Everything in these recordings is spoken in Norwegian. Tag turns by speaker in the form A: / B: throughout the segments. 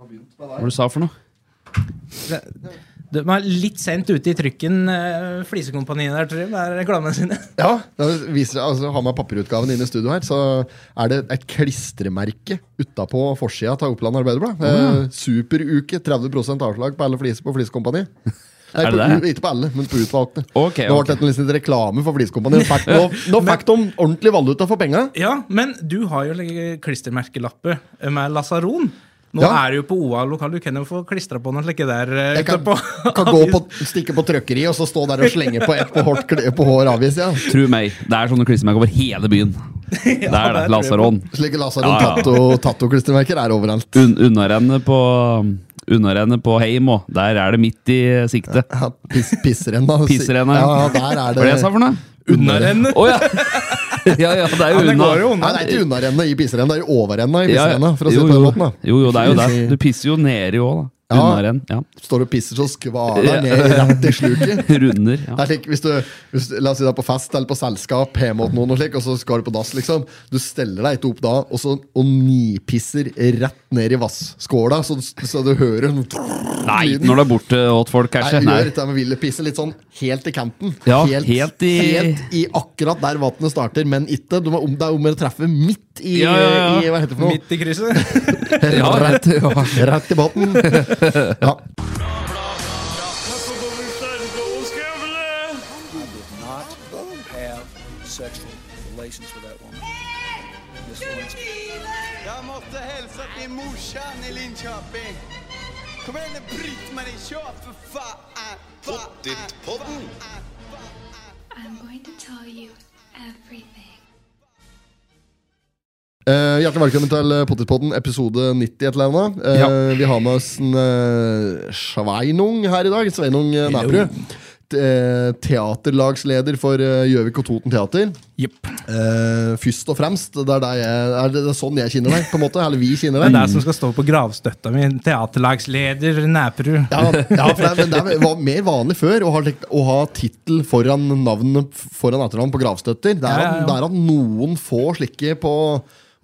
A: har begynt med
B: Hva var det du sa for noe?
C: De er litt sent ute i trykken, eh, Flisekompaniet der, tror jeg, med reklamene sine.
A: Ja, det viser, altså, Har man papirutgaven inne i studio her, så er det et klistremerke utapå forsida til Oppland Arbeiderblad. Eh, superuke, 30 avslag på alle fliser på Flisekompani. Nei,
B: Er
A: på,
B: det det?
A: u- ikke på alle, men på utvalgte.
B: Ok,
A: Nå
B: ok.
A: ble dette liksom litt reklame for Flisekompani. Nå fikk- Nå, nå fikk de ordentlig valuta for penga.
C: Ja, men du har jo like klistremerkelapper med lasaron. Nå
A: Ja.
C: er du jo på OA lokal, du kan jo få klistra på noe slikt der. eh,
A: Jeg
C: ute
A: kan,
C: på
A: kan gå på, stikke på trøkkeriet og så stå der og slenge på ett på, hårdt kle- på hår avis. Ja.
B: Tro meg, det er sånne klistremerker over hele byen. Det er det.
C: det tror jeg på.
B: Lasaron.
A: Slike
B: Ja, ja.
A: Lasaron-tattoklistremerker er overalt.
B: Un Unnarennet på Unnarennet på Heim òg. Der er det midt i siktet.
A: Ja, piss, pissrenna.
B: Pissrenna,
A: ja.
B: ja.
A: Der er
B: Hva var det jeg sa for noe?
C: Unnarennet.
B: Å ja. ja! Ja, det er jo
C: Ja, det
B: unna.
C: går jo
A: Nei, det er ikke unnarenna i pissrenna, det er overrenna i
B: Ja, ja.
A: pissrenna. For å si
B: jo,
A: det på den
B: jo.
A: måten, da.
B: jo, jo, det er jo det. Du pisser jo nedi òg, da.
A: Ja.
B: Unnarenn. Ja.
A: Står og pisser så skvaler
B: Ja.
A: ned rett i sluket.
B: Runder.
A: Det
B: Ja.
A: er slik, hvis du, hvis, du- la oss si du er på fest eller på selskap hjemme hos noen, og slik, og så skal du på dass. liksom Du steller deg ikke opp da, og så og nipisser rett ned i vasskåla, så, så du hører en
B: Nei, når du er borte åt folk,
A: Nei,
B: kanskje.
A: vi
B: Nei.
A: gjør dette med ville pisse litt sånn helt i kanten.
B: Ja, helt i-
A: helt i akkurat der vannet starter, men ikke. Du må, om- det er om å treffe midt i,
B: Ja, ja, ja.
A: i Hva heter det for noe?
C: Midt i krysset.
B: Ja, rett, ja.
A: Rett i båten. ja.
D: not have sexual relations with that woman. Miss Lewinsky.
E: Jeg måtte hilse til morsan i Linköping. Kom igjen, Britt-Marie, kjør, for faen! Pottit-podden!
F: I'm going to tell you everything.
A: Eh, hjertelig velkommen til eh, Pottispodden, episode 90 et eller annet. Eh,
B: Ja.
A: Vi har med oss en eh, Sveinung her i dag. Sveinung eh, Næprud. Te- eh, Teaterlagsleder for eh, Gjøvik og Toten Teater.
C: Jepp.
A: Eh, først og fremst, det er, der jeg, er det, det er sånn jeg kjenner deg, på en måte. Eller vi kjenner
C: Det
A: deg.
C: er det som skal stå på gravstøtta mi. Teaterlagsleder Næperud.
A: Ja, ja for det, men det var mer vanlig før å ha, likt- å ha tittel foran navnet f- foran etternavn på gravstøtter. Det er,
C: Ja, ja,
A: at-
C: ja.
A: det er at noen få slike på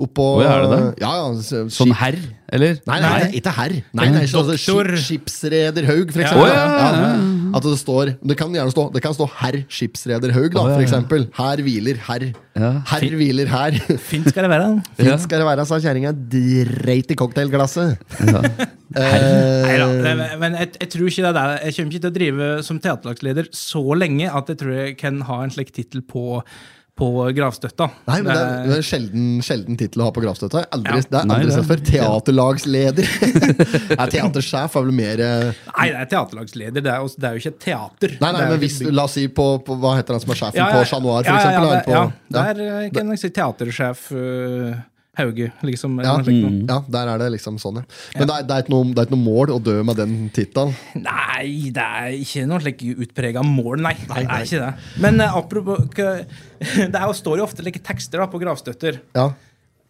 A: oppå
B: Oi, er det
A: Ja, ja, s-
B: Sånn
A: skip-
B: herr, eller?
A: Nei, nei, det er ikke herr. Nei, nei, så- altså, skip-
C: Doktor.
A: Skipsreder Haug, for
C: Ja.
A: eksempel.
B: Å, ja, ja, ja,
A: At det står Det kan gjerne stå Det kan stå herr skipsreder Haug, da, for eksempel. Her hviler herr.
B: Ja.
A: Herr hviler her.
C: Fint skal det være. da.
B: Ja.
A: Fint skal det være, sa kjerringa. Dreit i cocktailglasset. Eh,
C: Neida,
A: Herr.
C: det- men jeg, jeg tror ikke det er der. Jeg kommer ikke til å drive som teaterlagsleder så lenge at jeg tror jeg kan ha en slik tittel på, på gravstøtta.
A: Nei, men det er,
C: Det-
A: det er en sjelden, sjelden tittel å ha på gravstøtta. Aldri,
C: Ja.
A: Det er
B: Nei,
A: aldri
B: det er-
A: sett før. Teaterlagsleder. Nei, teatersjef er vel mer eh,
C: Nei, det er teaterlagsleder. Det er, jo- det er jo ikke et teater.
A: Nei, nei,
C: Det er jo
A: men
C: ikke
A: hvis,
C: et bygg.
A: la oss si på, på Hva heter han som er sjefen på Chat Noir, for
C: ja,
A: eksempel?
C: Ja,
A: eller
C: det- ja,
A: på, ja,
C: der eh, kan jeg si teatersjef eh, Hauge, liksom.
A: Ja,
C: eller noe slikt noe.
A: Mm. ja, der er det liksom sånn, ja. Men det, er, det, er ikke noe, det er ikke noe mål å dø med den tittelen.
C: Nei, det er ikke noe slik utprega mål, nei. Det
A: nei.
C: er ikke det. Men eh, apropos k- Det er jo, står jo ofte like tekster da, på gravstøtter.
A: Ja.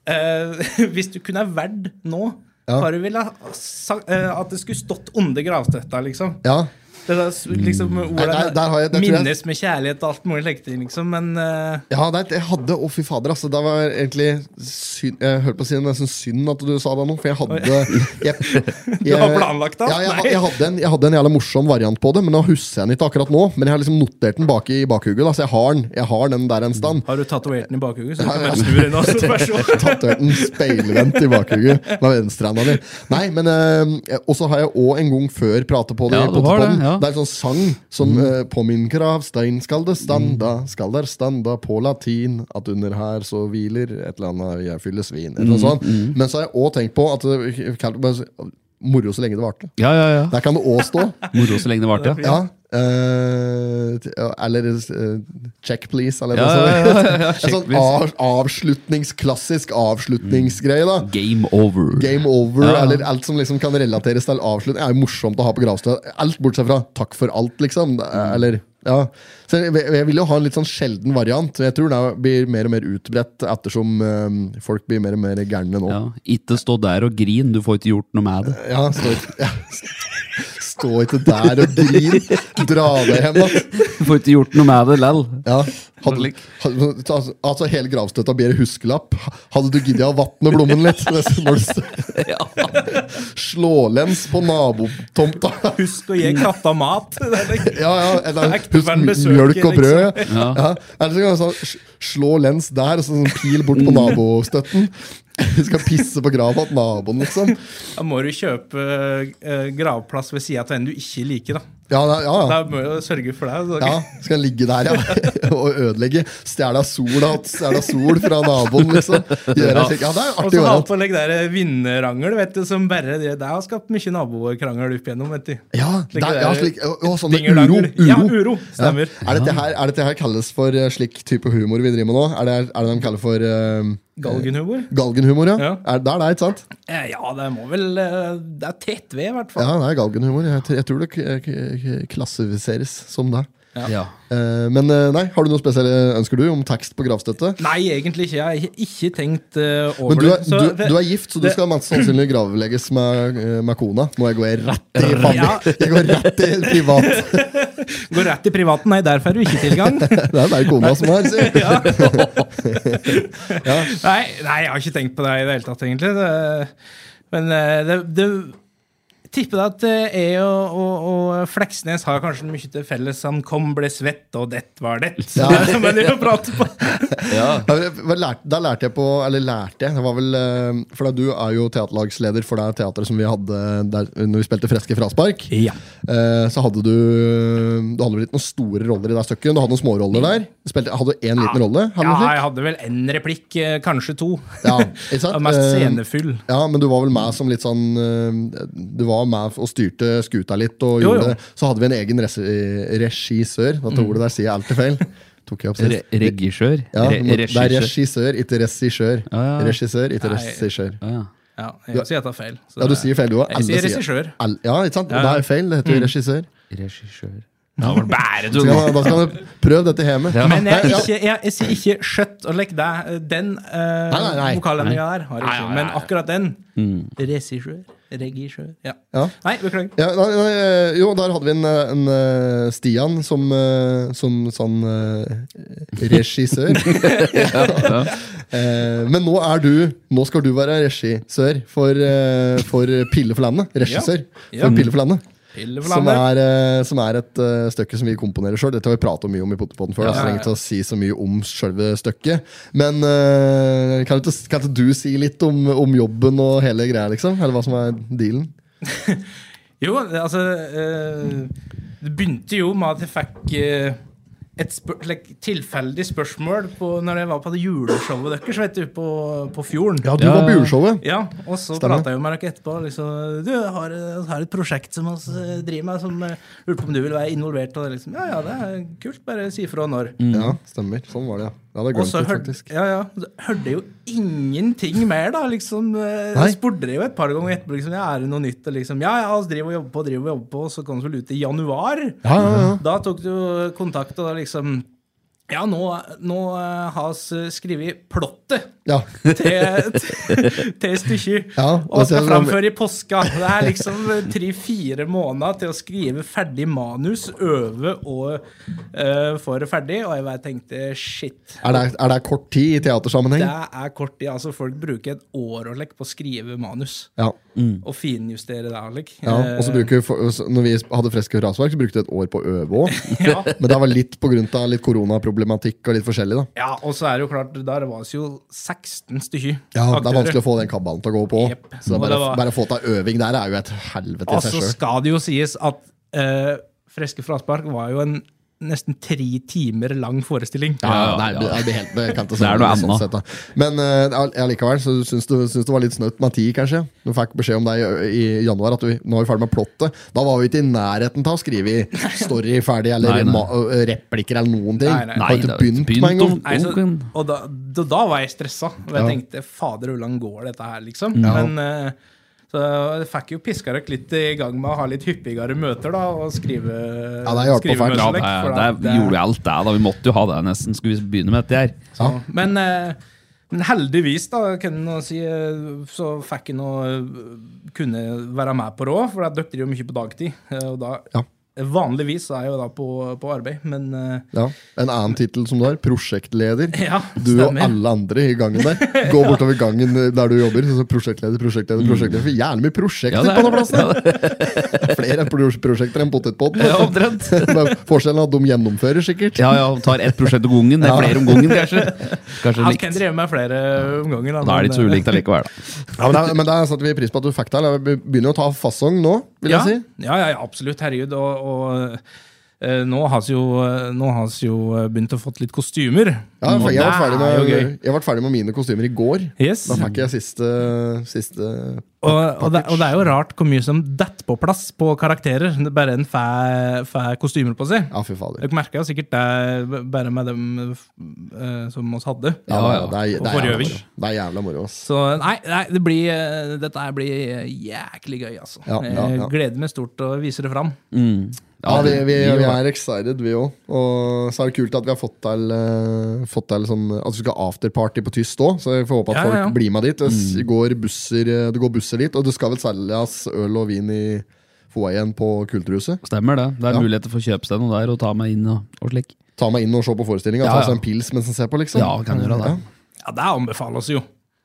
C: Eh, hvis du kunne ha valgt nå
A: Ja.
C: hva du ville ha sa- eh, at det skulle stått under gravstøtta, liksom.
A: ja.
C: Det er s- liksom ord
A: Mm. Nei, nei, der har jeg- det tror jeg-
C: Minnes med kjærlighet og alt mulig slikt, liksom. Men eh,
A: Ja, nei, jeg hadde Å, fy fader, altså. Det var egentlig synd, Jeg hørte på å si det, nesten synd at du sa det nå, for jeg hadde jeg,
C: du har planlagt det?
A: Ja, jeg,
C: Nei.
A: ha- jeg, hadde en, jeg hadde en jævla morsom variant på det, men nå husker jeg den ikke akkurat nå. Men jeg har liksom notert den bak i bakhugget. Da, så jeg har den, jeg har den der en stand.
C: Har du tatovert den i bakhodet, så du kan bare snu den også. bare så.
A: Tatovert den speilvendt i bakhugget med venstrehanda mi. Nei, men eh, Og så har jeg òg en gang før prata på det.
B: Ja,
A: i
B: du har det,
A: Potterpodden.
B: ja. Mm.
A: Det er en sånn sang som eh, På min grav stein skal det standa, skal der standa på latin, at under her så hviler et eller annet jeg fyller svin.
B: Mm,
A: Eller noe sånt. Men så har jeg òg tenkt på at eh, kan- bare- Moro så lenge det varte.
B: Ja, ja, ja.
A: Der kan det òg stå.
B: Moro så lenge det varte, ja.
A: Ja. eh, t- ja, eller eh, Check Please, eller
B: Ja,
A: noe
B: ja,
A: sånt.
B: ja, ja, ja.
A: En
B: Check,
A: sånn
B: please.
A: av, avslutnings, klassisk avslutningsgreie, da.
B: Game over.
A: Game over,
B: Ja.
A: eller alt som liksom kan relateres til avslutning. er jo morsomt å ha på gravstøt. Alt bortsett fra 'takk for alt', liksom. Det
B: Mm.
A: er- Eller, ja. Så jeg, jeg vil jo ha en litt sånn sjelden variant. Jeg tror det blir mer og mer utbredt ettersom eh, folk blir mer og mer gærne nå.
B: Ja. Ikke stå der og grin, du får ikke gjort noe med det.
A: Ja, stå, ikke- ja. stå ikke der og grin. Dra deg hjem, da.
B: Du får ikke gjort noe med det lell.
A: Ja. Hadde, hadde, altså, altså Hele gravstøtta blir huskelapp. Hadde du giddet å vatne blommen litt? Når du s- Slålens på nabotomta.
C: Husk å gi katta mat. Det er det-
A: Ja, ja, eller
C: Ekte liksom.
A: husk
C: venn besøker,
A: mjølk og brød. Ja.
B: Ja.
A: Eller så kan du sånn, sj- slå lens der, og så sånn pil bort på nabostøtten. Du skal pisse på grava til naboen, liksom.
C: Da må du kjøpe eh, gravplass ved sida av en du ikke liker. da.
A: Ja, ja, ja.
C: Da må du sørge for det. Så.
A: Ja, skal jeg ligge der ja. og ødelegge. Stjele sol, stjele sol fra naboen, liksom. Gjøre slik. Ja, det er en
C: Og
A: artig
C: så ha
A: variant.
C: på like, der vinnerrangel, vet du, som bare det, det har skapt mye nabokrangel opp igjennom. vet du.
A: Ja,
C: Slik
A: der,
C: det
A: ja,
C: er-
A: slik, og, og sånne uro.
C: Dingelangel.
A: uro.
C: Ja, uro, stemmer.
A: Er dette her, er dette her kalles for eh, slik type humor vi driver med nå? Er det, er det de kaller for eh,
C: Galgenhumor?
A: galgenhumor? Ja.
C: Ja.
A: Er, det er det, ikke sant?
C: Eh, Ja, det må vel eh, Det er tett ved, i hvert fall.
A: Ja, det er galgenhumor. Jeg, tr- jeg tror det k k k- klassifiseres som det.
B: Ja.
A: Eh, men eh, nei, har du noe spesielle ønsker du om tekst på gravstøtte?
C: Nei, egentlig ikke. Jeg har ikke- ikke tenkt eh, over
A: Men du er,
C: det. Så
A: du,
C: det-
A: du er gift, så du
C: det-
A: skal mest sannsynlig gravlegges med, eh, med kona. Må jeg gå rett i famil-
C: Ja.
A: Jeg går rett i privat.
C: Går rett i privaten. Nei, der får du ikke tilgang.
A: Det er bare kona som er, sier jeg.
C: Nei, nei, jeg har ikke tenkt på det i det hele tatt, egentlig. Det, men eh, det, det tipper det at eh, jeg og, og, og Fleksnes har kanskje mye til felles. Han kom, ble svett, og dett var dett. Så
A: Ja.
C: det må jeg jo prate på.
A: Da, hva lærte, da lærte jeg på Eller lærte jeg, det var vel eh, For da du er jo teaterlagsleder for det teatret som vi hadde der, når vi spilte Freske fraspark.
C: Ja.
A: Eh, så hadde du Du hadde vel ikke noen store roller i det stykket? Du hadde noen småroller der? Du Spilte, hadde du én liten rolle? hadde du
C: ja,
A: slik?
C: jeg hadde vel én replikk, eh, kanskje to.
A: Ja, ikke sant?
C: Og mest
A: Eh,
C: scenefull.
A: Ja, men du var vel med som litt sånn eh, Du var med og styrte skuta litt. Og
C: Jo, Mm. jo.
A: gjorde, Så hadde vi en egen res regissør. Dette ordet der sier jeg alltid feil. Tok jeg opp
B: Re
A: sist.
B: regissør?
A: Ja,
B: Re
A: men det er
B: regissør.
A: regissør, ikke regissør.
B: Ja, ja.
A: Regissør, ikke
C: Nei.
A: regissør.
B: Ja, ja.
C: Ja, jeg sier jeg tar feil. så
A: Ja, du
C: det-
A: sier feil, du òg.
C: Jeg sier regissør.
A: Ja, ikke sant? Og det er feil. Det heter jo regissør.
B: Regissør.
C: Ja, men bære du
A: Så
C: nå.
A: kan- Da skal du prøve dette hjemme.
B: Ja.
C: Men jeg,
A: Ja.
C: ikke, jeg, jeg sier ikke 'skjøtt' og 'legg deg'. Den uh,
A: Nei, nei, nei. Mm.
C: vokalendringa der har jeg
B: Nei,
C: ikke.
B: nei, nei,
C: Men
B: nei.
C: akkurat den Regissør. Regissør. Ja.
A: Ja.
C: Nei, beklager.
A: Ja, nei, nei, eh, jo, der hadde vi en, eh, en eh, Stian som, eh, som sånn eh, regissør. Eh, Men nå er du Nå skal du være regissør for, eh, for Pille for landet. Regissør
C: Ja.
A: for Pille for landet.
C: Pille for
A: Som
C: landet.
A: er, eh, som er et eh, stykke som vi komponerer sjøl. Dette har vi prata mye om i Pottepotten før. da,
C: Ja,
A: så
C: ja,
A: jeg trenger ikke å si så mye om selve stykket. Men eh, kan, ikke, kan ikke du si litt om, om jobben og hele greia, liksom? Eller hva som er dealen?
C: Jo, altså eh, Det begynte jo med at jeg fikk eh, et spør like, tilfeldig spørsmål på, når jeg var på det juleshowet deres vet du, på, på Fjorden.
A: Ja, du
B: Ja,
A: var på
B: ja.
A: juleshowet.
C: Ja, og så
A: Stemmer.
C: prata jeg jo med dere etterpå. Liksom, du jeg har, jeg har et prosjekt som oss eh, driver med, som eh, lurer på om du vil være involvert. Og det liksom, ja, ja, det er kult, bare si ifra når.
A: Ja, stemmer. Sånn var det, ja. Jeg hadde
C: Og
A: glemt
C: så
A: Mm, det,
C: hørte
A: faktisk.
C: ja, ja, så hørte jeg jo ingenting mer, da. liksom eh,
A: Nei.
C: Jeg spurte jo et par ganger etterpå liksom, ja, er det noe nytt. Og liksom, ja, ja, vi driver og jobber på, driver og jobber på, og så kom det vel ut i januar.
A: Ja, ja, ja.
C: Da tok du kontakt, og da liksom Ja, nå, nå eh, har vi skrevet plottet
A: ja.
C: til, til- til stykket.
A: Ja,
C: og
A: da ser
C: skal
A: du-
C: framføre i påska. Det er liksom tre-fire måneder til å skrive ferdig manus, øve og eh, få det ferdig. Og jeg bare tenkte shit.
A: Er, det, er det kort tid i teatersammenheng?
C: Det er kort tid. altså Folk bruker et år og lekk på å skrive manus.
A: Ja.
C: Og finjustere det. og Lekk.
A: ja. Og
C: Eh.
A: så bruker vi for- når vi hadde Freske Rasverk, så brukte vi et år på å øve òg.
C: Ja.
A: Men det var litt pga. litt koronaproblematikk og litt forskjellig, da.
C: ja, og så er det jo klart, der var det jo 16 stykker.
A: Ja, Det er
C: aktører.
A: vanskelig å få den kabalen til å gå på.
C: Jepp.
A: Så
C: Og
A: bare,
C: det var-
A: bare å få til øving der er jo et helvete i
C: Og
A: seg
C: så
A: sjøl.
C: skal det jo sies at eh, Freske fraspark var jo en nesten tre timer lang forestilling.
B: Ja,
A: Ja, nei,
B: ja.
A: det er- det er helt- det kan ikke
B: Det er noe
A: sammenlignes
B: annet.
A: sånn sett, da. Men uh, likevel, så syns du, syns det var litt snaut med tid, kanskje? Du fikk beskjed om det i, i januar, at vi, nå er vi ferdig med plottet. Da var vi ikke i nærheten av å skrive story ferdig, eller
B: Nei, nei.
A: Ma ø, replikker eller noen ting.
C: Nei, nei.
A: Har ikke
B: det er
A: begynt
B: begynt
A: med en gang.
B: om-
C: Nei, så,
B: Onken.
C: og da, da, da var jeg stressa. Og jeg tenkte fader, hvor langt går dette her, liksom? Men eh, så jeg fikk jo piska dere litt i gang med å ha litt hyppigere møter, da, og skrive
A: Ja, det hjalp på fælt.
B: Ja,
A: Ja,
B: det,
C: skrivemøtelekk, for eh,
B: det,
C: da- det-
B: gjorde jo alt det, da. Vi måtte jo ha det nesten. Skulle vi begynne med dette her?
A: Ja.
C: Men, eh, men heldigvis, da, kan jeg nå si, eh, så fikk jeg nå eh, kunne være med på råd, for jeg døpte jo mye på dagtid. eh, Og da
A: Ja.
C: Vanligvis så er jeg jo da på, på arbeid, men eh,
A: Ja. En annen tittel som du har, prosjektleder.
C: ja,
A: Du og alle andre i gangen der. Gå bortover gangen der du jobber. Så så prosjektleder, prosjektleder,
C: Mm.
A: prosjektleder. For jævlig mye prosjekter på den plassen!
B: Ja, det
A: Flere pros- prosjekter enn potetpodden.
B: er omtrent.
A: Bare Forskjellen er at de gjennomfører, sikkert.
B: Ja, ja, tar ett prosjekt om gangen. Det er flere om gangen, kanskje. Kanskje
C: Han kan
B: likt.
C: drive med flere omganger.
B: Da er det ikke så
C: men, eh,
B: ulikt allikevel, da.
A: Ja, men, det, men det setter vi pris på at du fikk det. eller Vi begynner å ta fasong nå, vil
C: ja,
A: jeg si.
C: Ja, ja, ja, absolutt. Herregud. Og, og eh, nå har vi jo, eh, nå har vi jo begynt å fått litt kostymer.
A: Ja, for
C: Og
A: jeg,
C: det
A: var ferdig
C: er
A: med,
C: jo gøy.
A: jeg var ferdig med mine kostymer i går.
C: Yes.
A: Da fikk jeg siste, siste
C: Og, og, det, og det er jo rart hvor mye som detter på plass på karakterer. Det er bare en fæ, fæ kostymer på seg.
A: Ja, fy fader.
C: Dere merka jo sikkert det b- bare med dem eh, som oss hadde.
A: Ja,
B: Ja, ja.
A: Det, er, det,
C: Og
A: er
C: forrige
A: jævla
C: øving.
A: moro. det er jævla moro. altså. ass.
C: Så nei, nei det blir, eh, dette her blir eh, jæklig gøy, altså.
A: Ja, ja, ja.
C: Jeg gleder meg stort til å vise det fram.
B: Mm.
A: Ja, vi, vi, vi
B: jo.
A: er excited, vi òg. Og så er det kult at vi har fått til, eh, fått til sånn, at vi skal ha afterparty på tyst òg. Så jeg får håpe at
C: Ja, ja, ja.
A: folk blir med dit. Det,
B: Mm.
A: s- går busser, eh, det går busser dit, og det skal vel selges øl og vin i foajeen på Kulturhuset.
B: Stemmer det. Det er
A: Ja.
B: muligheter for å kjøpe seg noe der og ta meg inn og, og slik.
A: Ta meg inn og se på forestillinga.
B: Ja,
A: Ta
B: ja.
A: seg en pils mens en ser på, liksom.
B: Ja, kan gjøre det.
C: Ja, det anbefales jo.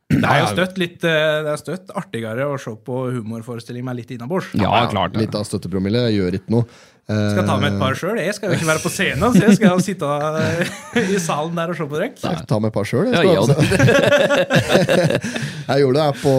C: Det er jo støtt litt eh, Det er støtt artigere å se på humorforestilling med litt innabords.
B: Ja, klart det.
A: Litt av støttepromille gjør ikke noe. Eh,
C: Skal ta med et par sjøl. Jeg skal jo ikke være på scenen, så jeg skal jo sitte eh, i salen der og se på dere.
A: jeg skal ta med et par sjøl.
B: Ja,
A: Jeg,
B: ja,
A: skal- jeg gjorde det her på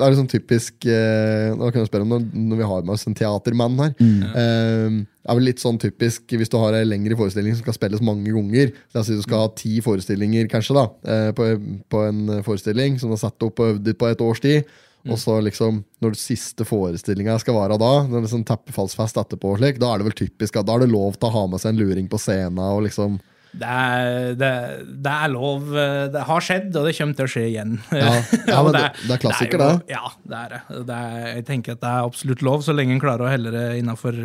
A: Det er liksom typisk eh, Nå kan jeg spørre om når, når vi har med oss en teatermann her. Eh, det er vel litt sånn typisk Hvis du har en lengre forestilling som skal spilles mange ganger La oss si du skal ha ti forestillinger kanskje da eh, på, på en forestilling som du har satt opp og øvd på et års tid. Og så liksom, når den siste forestillinga skal være da, når det er sånn teppefallsfest etterpå, og slik, da er det vel typisk at da er det lov til å ha med seg en luring på scenen. og liksom...
C: Det er, det, det er lov. eh, Det har skjedd, og det kommer til å skje igjen.
A: Ja, ja, men det- det er klassiker,
C: jo-
A: det.
C: Ja, det er det. det er, jeg tenker at det er absolutt lov, så lenge en klarer å helle det innafor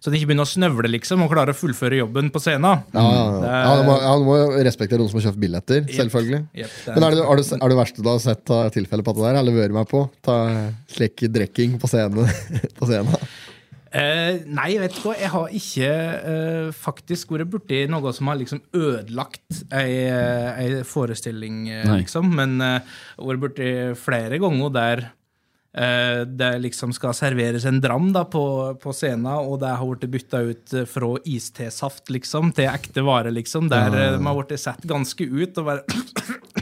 C: Så en ikke begynner å snøvle, liksom, og klarer å fullføre jobben på scenen.
A: Ja, ja, ja. ja, du må, ja, du må jo respektere noen som har kjøpt billetter, selvfølgelig.
C: Jep, det er-
A: Men er det, er, det, er det verste du har sett av tilfelle på det der? Eller vært med på? Ta slik drikking på scenen? på scenen.
C: Eh, nei, vet du hva, jeg har ikke eh, faktisk vært borti noe som har liksom ødelagt ei, eh, ei forestilling, eh,
B: Nei.
C: liksom. Men eh, jeg har vært borti flere ganger der eh, det liksom skal serveres en dram da, på, på scenen, og det har blitt bytta ut eh, fra istesaft liksom, til ekte vare, liksom. Der eh, de har blitt satt ganske ut og bare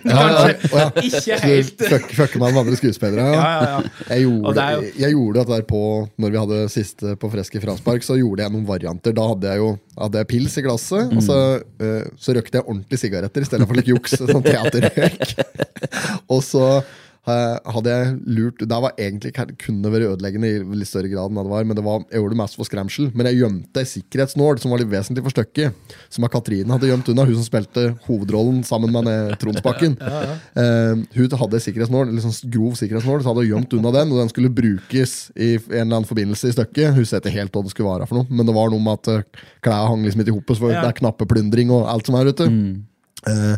A: Ja, ja, ja.
C: Ikke
A: Så
C: helt.
A: du fuck- fucker meg med andre skuespillere? Ja.
C: Ja, ja, ja.
A: Jeg
C: Og
A: gjorde,
C: det er jo-
A: jeg, jeg gjorde dette der på Når vi hadde siste på Freske Fraspark, så gjorde jeg noen varianter. Da hadde jeg jo hadde jeg pils i glasset, og så, eh, så røkte jeg ordentlige sigaretter i stedet for litt juks. sånn teaterrøyk. og så eh, hadde jeg lurt Det var egentlig ikke- kunne vært ødeleggende i litt større grad enn det var, men det var, jeg gjorde det mest for skremsel. Men jeg gjemte ei sikkerhetsnål som var litt vesentlig for stykket, som Katrine hadde gjemt unna, hun som spilte hovedrollen sammen med eh, Tronsbakken. Eh, hun hadde en sikkerhetsnål, liksom grov sikkerhetsnål, så hadde hun gjemt unna den, og den skulle brukes i en eller annen forbindelse i stykket. Hun ser ikke helt hva det skulle være for noe, men det var noe med at eh, klærne hang liksom ikke i hopet, så det
C: Ja.
A: er knappeplyndring og alt som er ute. Eh,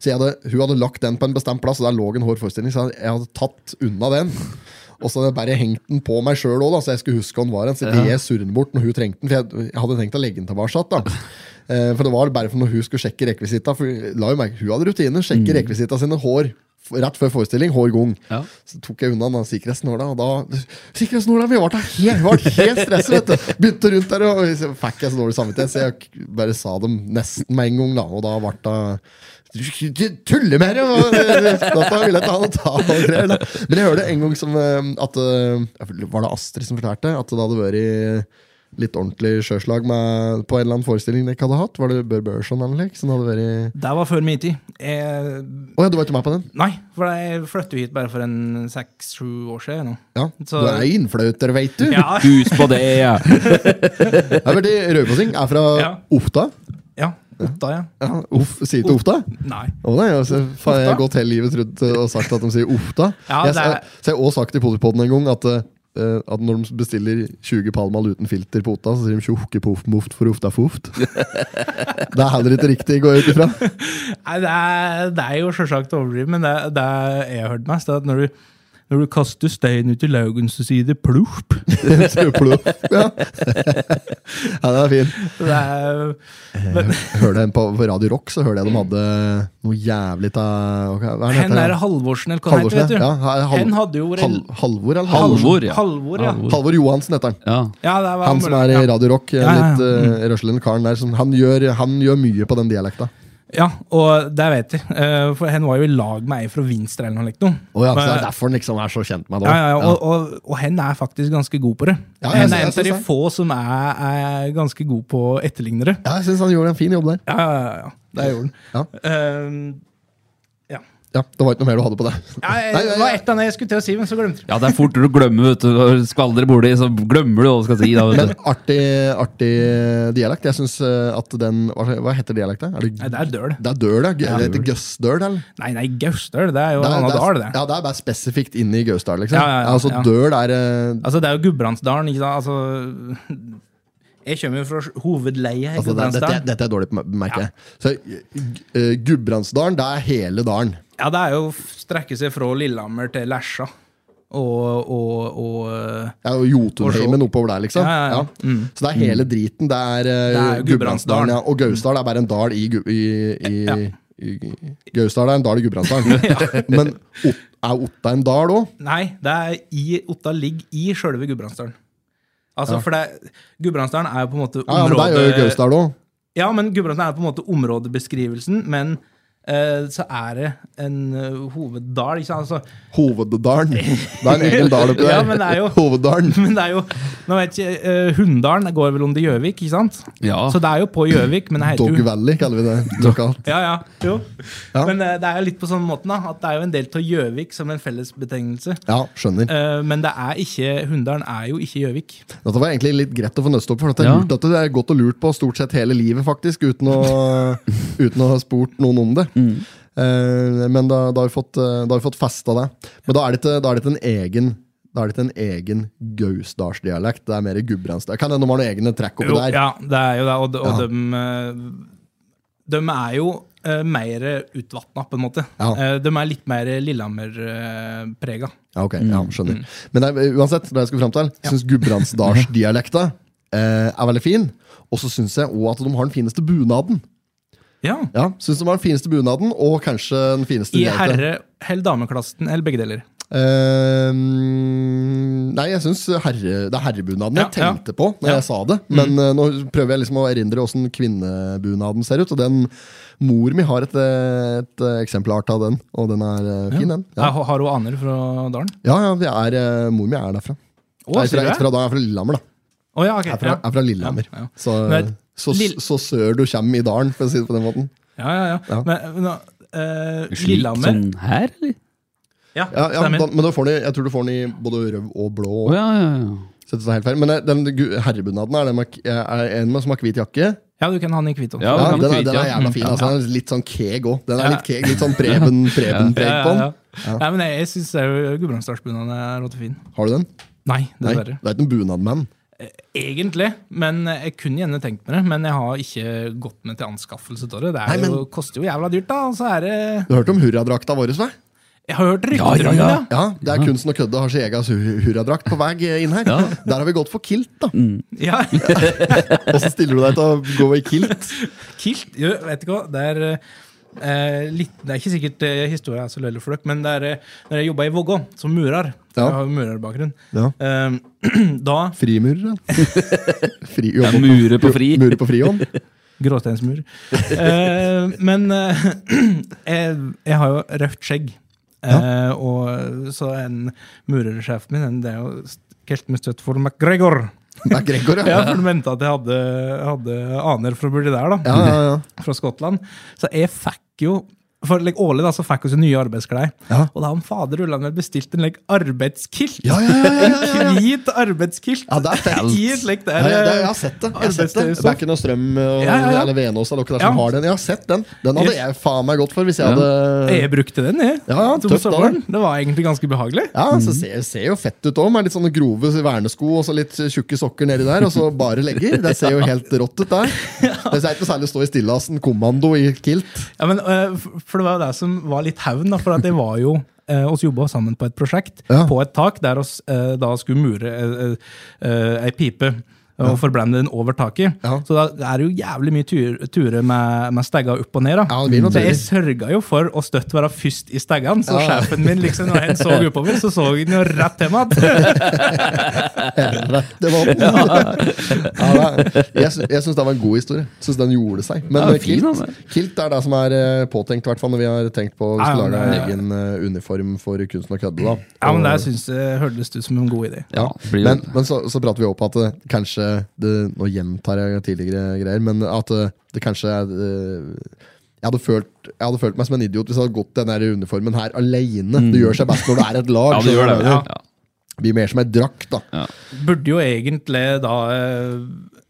A: så jeg hadde, hun hadde lagt den på en bestemt plass, og der lå en hård forestilling, så jeg hadde- jeg hadde tatt unna den. Og så hadde jeg bare hengt den på meg sjøl òg, så jeg skulle huske hva den var. hen, Så ikke jeg surrer den bort når hun trengte den, for jeg, jeg hadde tenkt å legge den tilbake. da. Eh, For det var bare for når hun skulle sjekke rekvisitta. For jeg la jo merke, hun hadde rutiner. Sjekke rekvisitta sine hår f- rett før forestilling. Hår gong.
B: Ja.
A: Så tok jeg unna den sikkerhetsnåla, og da Sikkerhetsnåla! Vi var da helt, vi var helt stresset, vet du! Begynte rundt der, og så fikk jeg så dårlig samvittighet, så jeg k- bare sa dem nesten med en gang, da, og da ble det du tuller med det! og- Dette vil jeg ta og ta og greier, da. Men jeg hørte en gang som eh, at eh, Var det Astrid som fortalte? At det hadde vært litt ordentlig sjøslag med, på en eller annen forestilling dere hadde hatt? Var det Bør Børson eller noe? slikt Som hadde vært
C: Det var før min tid. Jeg,
A: Å ja, du var ikke med på den?
C: nei, for jeg flyttet jo hit bare for en seks-sju år siden. nå.
A: Ja.
C: Så-
A: Du er innfløter, veit du!
C: Ja,
B: Hus på det, ja.
A: Jeg er veldig rødpåsing. Er fra
C: Ja.
A: Oppta.
C: ja. Otta, ja.
A: Ja, uff, sier til Ofta?
C: Nei.
A: Å nei, altså, faen, jeg har gått hele livet trodd eh, og sagt at de sier Ofta.
C: Ja,
A: jeg,
C: det
A: så,
C: er-
A: så jeg har også sagt i Polipodden en gang at, eh, at når de bestiller 20 Palmal uten filter på Otta, så sier de 'tjokke poff moft for Ofta foft'. det er heller ikke riktig, går jeg ut ifra.
C: Nei, det er, det er jo selvsagt overdrivet, men det, det jeg har hørt mest, er at når du, Når du kaster stein ut i laugen, så sier det plopp.
A: Pluff. ja. ja, den er fin.
C: Det er,
A: Hørte jeg på på Radio Rock, så hørte jeg de hadde noe jævlig av ok, Hva
C: Mm. hen
A: heter
C: er
A: det?
C: Halvorsen, eller hva han
A: Halvorsen,
C: heter, vet du.
A: ja. Ja, Hal-
C: Hen hadde jo
A: Hal Halvor, eller?
B: Halvor, ja.
C: Halvor, ja.
B: Halvor.
A: Halvor Johansen heter han.
B: ja.
C: ja det var
A: Han som er i
C: ja.
A: Radio Rock.
C: ja, Mm. ja.
A: Litt uh, røslende karen der. Som, han, gjør, han gjør mye på den dialekta.
C: ja, og det vet jeg. Eh, For hen var jo i lag med ei fra Vinstra eller noe. likt noe.
A: Oh, ja, så det
C: Men-
A: er derfor han liksom er så kjent med det.
C: Ja, ja, ja, og, og, og hen er faktisk ganske god på det.
A: Ja, jeg
C: hen
A: sy-
C: er
A: jeg
C: en av de
A: syns det.
C: få som er, er ganske god på å etterligne det.
A: Ja, jeg syns han gjorde en fin jobb der.
C: Ja, ja, ja, ja. Det gjorde den.
A: Ja.
C: Ehm,
A: Ja, Det var ikke noe mer du hadde på det.
C: ja, jeg-
A: Nei, ja, ja.
C: det var ett av dem jeg skulle til å si, men så glemte jeg.
B: ja, det er fort du glemmer, vet du. Når du skvaldrer borti, så glemmer du hva du skal si. Da,
A: Men
B: vet du.
A: artig, artig dialekt. Jeg syns at den Hva, hva heter dialekta? Er
C: Nei,
A: det,
C: det er døl.
A: det er døl, ja. G- Det heter Gøssdøl, eller?
C: Nei, nei, Gausdøl, det er jo en annen dal, det.
A: ja, det er bare spesifikt inne i Gausdal, liksom.
C: Ja, ja, ja,
A: altså,
C: ja.
A: Døl er eh,
C: Altså, det er jo Gudbrandsdalen, ikke sant? Altså, jeg kommer jo fra hovedleia i
A: altså, det, dette,
C: Gudbrandsdalen.
A: dette er dårlig på merke. Så eh, Gudbrandsdalen, det er hele dalen.
C: Ja, det er jo å strekke seg fra Lillehammer til Lesja. Og, og, og
A: Ja, og Jotunheimen oppover der, liksom.
C: Ja, ja, ja.
A: Så det er hele driten. Det er, eh,
C: Det er jo Gudbrandsdalen.
A: Gudbrandsdalen. Ja. Og Gausdal er bare en dal i, Gu- i, i, i Gausdal er en dal i Gudbrandsdalen. Men Ot, er Otta en dal òg?
C: Nei, det er i Otta ligger i sjølve Gudbrandsdalen. Altså, for det, Gudbrandsdalen er jo på en måte
A: Ja, ja, men det er jo
C: området...
A: Gausdal òg.
C: Ja, men Gudbrandsdalen er på en måte områdebeskrivelsen, men eh, så er det en eh, hoveddal, ikke sant? Altså,
A: Hoveddalen. Det er en egen dal oppi der.
C: Ja, men det er jo-
A: Hoveddalen.
C: men det er jo Nå vet jeg ikke eh, Hunndalen går vel under Gjøvik, ikke sant?
B: Ja.
C: Så det er jo på Gjøvik, men det heter
A: Ah. Dog
C: jo
A: Valley kaller vi det lokalt.
C: Ja, ja, jo.
A: Ja.
C: Men eh, det er jo litt på sånn måten, da. At det er jo en del av Gjøvik som en fellesbetegnelse.
A: Ja, skjønner.
C: Eh, men det er ikke Hunndalen er jo ikke Gjøvik.
A: Dette var egentlig litt greit å få nøste opp, for det er,
B: Ja.
A: lurt at det er godt og lurt på stort sett hele livet, faktisk, uten å, uten å ha spurt noen om det. Eh, men da, da har vi fått, eh, da har vi fått festa det. Men da er det ikke, da er det ikke en egen da er det ikke en egen gausdalsdialekt. Det er mer gudbrandsdal. Kan hende de har noen egne trekk oppi
C: Jo,
A: der.
C: ja, det er jo det. Og, de- og
A: Ja.
C: dem, eh, dem er jo eh, mer utvatna, på en måte.
A: Ja.
C: Eh, de er litt eh, mer Lillehammer-prega.
A: Ja, ok, ja, skjønner.
C: Mm.
A: Men det er, uansett, det jeg skulle fram til, syns gudbrandsdalsdialekta eh, er veldig fin. Og så syns jeg òg at de har den fineste bunaden.
C: ja.
A: Ja, synes de har den fineste bunaden, Og kanskje den fineste
C: I
A: dialekta.
C: herre- eller dameklassen, eller begge deler.
A: Eh, nei, jeg syns herre, det er herrebunaden jeg
C: Ja, ja.
A: tenkte på når
C: Ja. Mm.
A: jeg sa det. Men eh, nå prøver jeg liksom å erindre åssen kvinnebunaden ser ut. Og den mor mi har et, eh, et eh, eksemplar av den, og den er eh, fin, den. Ja,
C: Jeg har- Har hun aner fra dalen?
A: ja, ja vi er, eh, mor mi er derfra.
C: Å,
A: Nei,
C: sier
A: fra,
C: du det?
A: fra, da, er fra Lillehammer, da.
C: Å, ja, ok,
A: Er fra,
C: ja.
A: er fra Lillehammer.
C: Ja, ja.
A: Så,
C: Men-
A: så,
C: Lill-
A: så sør du kommer i dalen, for å si det på den måten.
C: Ja, ja, ja.
A: Ja.
C: Men, men, eh,
B: Slik
C: Lillehammer
B: sånn her, eller?
C: Ja,
A: Ja, ja,
C: stemmer.
A: da, men da får den, i- jeg tror du får den i både rød og blå.
B: Å ja, ja, ja.
A: Så det står helt feil. Men eh, den gu- herrebunaden er, den med, er en med som har hvit jakke.
C: ja, du kan ha den i hvit også.
B: Ja,
A: Ja,
B: den
A: den, er,
B: hvit,
A: den er
B: ja.
A: jævla fin. Altså, den er litt sånn keeg òg. Den er litt keeg, litt sånn Preben Preben preg på den.
C: Nei, men jeg, jeg syns Gudbrandsdalsbunaden er råtefin.
A: Har du den?
C: Nei,
A: Nei,
C: dessverre.
A: det er ikke noen bunad med den.
C: Egentlig, men jeg kunne gjerne tenkt meg det. Men jeg har ikke gått med til anskaffelse av det. Det er
A: Nei, men-
C: jo, koster jo jævla dyrt, da. Og så er det
A: Du hørte om hurradrakta vår? Sve?
C: Jeg har hørt
B: Ja,
C: rykter
B: ja,
C: om det.
B: ja.
C: ja.
A: Ja, det er kunsten å kødde har sin egen hu- hurradrakt på vei inn her.
B: Ja. Mm.
A: Der har vi gått for kilt, da.
C: Ja.
A: Åssen stiller du deg til å gå i kilt?
C: Kilt jo, Vet ikke hva. Det er eh, litt, Det er ikke sikkert eh, historien er så lølle for dere, men det er eh, når jeg jobba i Vågå som murer
A: Ja.
C: Jeg har jo murerbakgrunn.
A: Ja.
C: eh, da
A: Frimurer, da. Fri,
B: Det er mure på fri.
A: Mure på frihånd?
C: Gråsteinsmur. Eh, men eh, jeg, jeg har jo røft skjegg. Eh, og så en murersjefen min, en- det er jo kalt med støtt for McGregor.
A: Det er Gregor, ja.
C: Ja, for de mente at jeg hadde, hadde aner fra borti der, da,
A: Ja, ja, ja.
C: fra Skottland. Så jeg fikk jo for like, Årlig da, så fikk vi nye arbeidsklær.
A: Ja.
C: Og da han fader Ulland meg bestilt en like, arbeidskilt.
A: Ja, ja, ja, ja, ja, ja, ja.
C: Hvit arbeidskilt.
A: Ja, det er fett.
C: I et slikt
A: Ja,
C: der,
A: ja, det, jeg
C: eh,
A: har sett det. Jeg har sett det.
C: Arbeidsløs,
A: det er ikke noe strøm og,
C: Ja, ja, ja.
A: eller Venås eller noe der
C: Ja.
A: som har den. Jeg har sett den. Den hadde jeg faen meg gått for hvis jeg hadde
C: eh, Jeg brukte den, jeg.
A: Ja, ja,
C: Som
A: tøft av
C: sommeren.
A: deg.
C: Det var egentlig ganske behagelig.
A: Ja, så
C: Mhm.
A: ser, ser jo fett ut òg, med litt sånne grove vernesko og så litt tjukke sokker nedi der, og så bare legger. Det ser jo helt rått ut der. Det er ikke noe særlig å stå i stillasen kommando i kilt.
C: Ja, men, øh, f- for det var jo det som var litt hevn, da, for at jeg var jo eh, eh, oss jobba sammen på et prosjekt
A: Ja.
C: på et tak der oss eh, da skulle mure eh, eh, ei pipe. Og forblende den over taket.
A: Ja.
C: Så da er det jo jævlig mye tur, ture med, med stegga opp og ned. da.
A: Ja, det blir noen
C: så jeg sørga jo for å støtt være først i steggene, så
A: Ja.
C: sjefen min liksom, når han så oppover, så så han jo rett til meg.
A: Rett i vann. Ja, det er- jeg sy- jeg syns det var en god historie. Syns den gjorde seg. Men
B: Ja,
A: eh,
B: fin, altså.
A: kilt,
C: altså.
B: han er.
A: kilt er det som er eh, påtenkt, hvertfall, når vi har tenkt på vi
C: Ja,
A: skal lage en
C: ja, ja.
A: egen eh, uniform for kunsten og kødde. da.
C: Ja, men
A: Og-
C: det syns jeg hørtes ut som en god idé.
A: Ja,
B: det blir jo-
A: men, men så, så prater vi opp at det, kanskje det, Nå gjentar jeg tidligere greier, men at det, det kanskje er eh, jeg hadde, følt, jeg hadde følt meg som en idiot hvis jeg hadde gått den her uniformen her alene. Det gjør seg best når det er et lag.
B: Ja, det
A: skjønner
B: gjør
A: du
B: det.
A: hva jeg
B: Ja.
A: mener? Blir mer som ei drakt, da.
C: Burde jo egentlig da eh,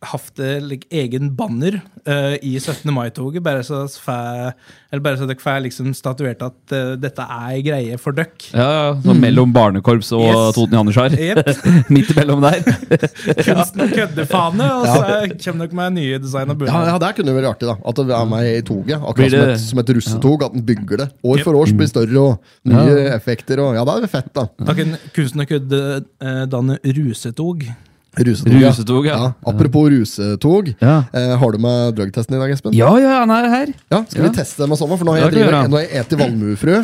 C: hatt eh, like, egen banner eh, i 17. mai-toget, bare så oss fæ- eller bare så dere får liksom statuert at eh, dette er ei greie for dere.
B: Ja, ja, så mellom barnekorps og
C: Yes.
B: Toten Janitsjar.
C: Jepp.
B: Midt imellom der.
C: Kunsten køddefane, og så kommer dere med nye design av
A: Ja,
C: bunad.
A: ja, Det kunne vært artig, da. At det er meg i toget.
B: Blir
A: Akkurat
B: det-
A: som, et, som et russetog. At den bygger det. År
C: Yep.
A: for år så blir det større, og nye effekter. Og, ja, det er fett, da.
C: Da kan kunsten og kødde eh, danne rusetog.
A: Rusetog. ja.
B: Rusetog, ja.
A: Ja, apropos rusetog.
B: Ja.
A: Eh, har du med drugtesten i dag, Espen?
B: Ja, ja, han er her.
A: Ja, Skal
B: Ja.
A: vi teste dem og sånn? For nå har
B: Ja,
A: jeg,
B: det kan vi
A: driver-
B: gjøre.
A: nå har jeg etet valmuefrø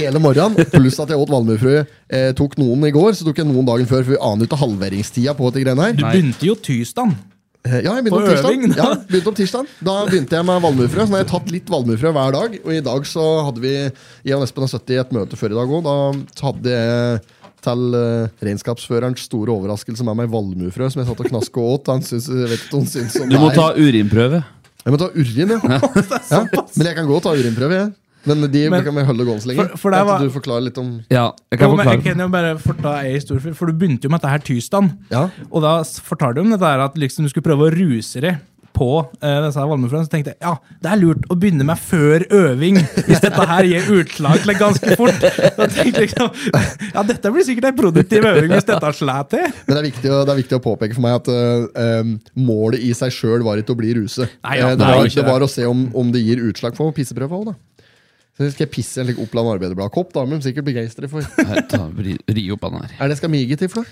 A: hele morgenen. Pluss at jeg åt valmuefrø eh, tok noen i går, så tok jeg noen dagen før. For vi aner jo ikke halveringstida på dette greiene her.
C: Du begynte jo tirsdag.
A: Eh, Ja, jeg begynte
C: På
A: om tirsdag.
C: øving, da?
A: Ja, begynte om tirsdag. Da begynte jeg med valmuefrø. Så nå har jeg tatt litt valmuefrø hver dag. Og i dag så hadde vi Jeg og Espen har sittet i et møte før i dag òg. Da så hadde jeg til eh, regnskapsførerens store overraskelse med meg valmuefrø som jeg satt og knaska og åt. Han syns, jeg vet ikke om han syns om
B: Du må
A: det er-
B: ta urinprøve.
A: Jeg må ta urin, ja. ja. Men jeg kan gå og ta urinprøve, jeg. Men de kan vi holde gående så lenge.
C: For- for det
A: At
C: var-
A: Du forklarer litt om
B: Ja, jeg kan
C: Jo, men jeg
B: forklare.
C: kan jo bare forta ei historie, for- for du begynte jo med dette her tirsdag.
A: Ja.
C: Og da s- fortalte du om dette her, at liksom du skulle prøve å ruse deg på eh, disse her valmuefrøene. Så tenkte jeg ja, det er lurt å begynne med før øving, hvis dette her gir utslag til ganske fort. Da tenkte jeg liksom, ja, dette blir sikkert ei produktiv øving hvis dette slår til.
A: Men det er, viktig å, det er viktig å påpeke for meg at eh, em, målet i seg sjøl var ikke å bli ruse.
C: Nei, ja,
A: Eh, det,
C: nei,
A: var,
C: ikke
A: det
C: det.
A: var å se om, om det gir utslag på pisseprøva òg, da. Så skal jeg pisse i en slik Oppland Arbeiderblad-kopp. Da blir de sikkert begeistra for. Er
B: Her, ta- Ri ri opp han her.
A: det jeg skal mige til for noe?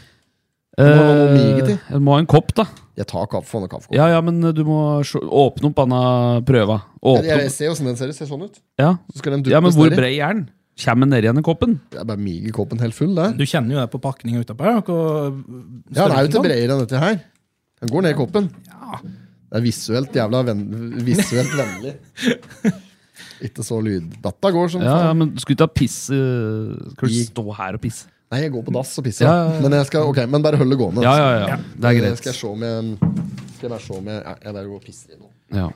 A: må mige
B: Eh,
A: til.
B: Du må ha en kopp, da.
A: Jeg tar kaffe og kaffekopp.
B: Ja, ja, men eh, du må sj- åpne opp denne prøva.
A: Jeg,
B: Åpne
A: jeg
B: opp.
A: ser åssen den ser, ut. ser sånn ut.
B: Ja.
A: Så skal den
B: ja, men
A: duppes
B: hvor
A: nedi.
B: brei er den? Kommer den ned igjen i koppen?
A: Det er bare mige koppen helt full, det.
C: Du kjenner jo det på pakninga utapå. her, hvor
A: Ja, den er jo
C: størrelsen
A: ikke
C: på den.
A: bredere enn dette her. Den går ned i koppen. Det er visuelt jævla ven visuelt vennlig. Ikke så lyddatta går som
B: Ja, ja,
A: faen.
B: men du skulle ikke ha piss eh, Skal du
A: I-
B: stå her og pisse?
A: Nei, jeg går på dass og pisser.
B: Ja, ja, ja.
A: Men jeg skal, ok, men bare hold det gående. Eh,
B: Ja, ja, ja. Det er greit.
A: Skal jeg se om jeg Skal jeg bare se om jeg Ja, jeg bare går og pisser i nå.
B: Ja.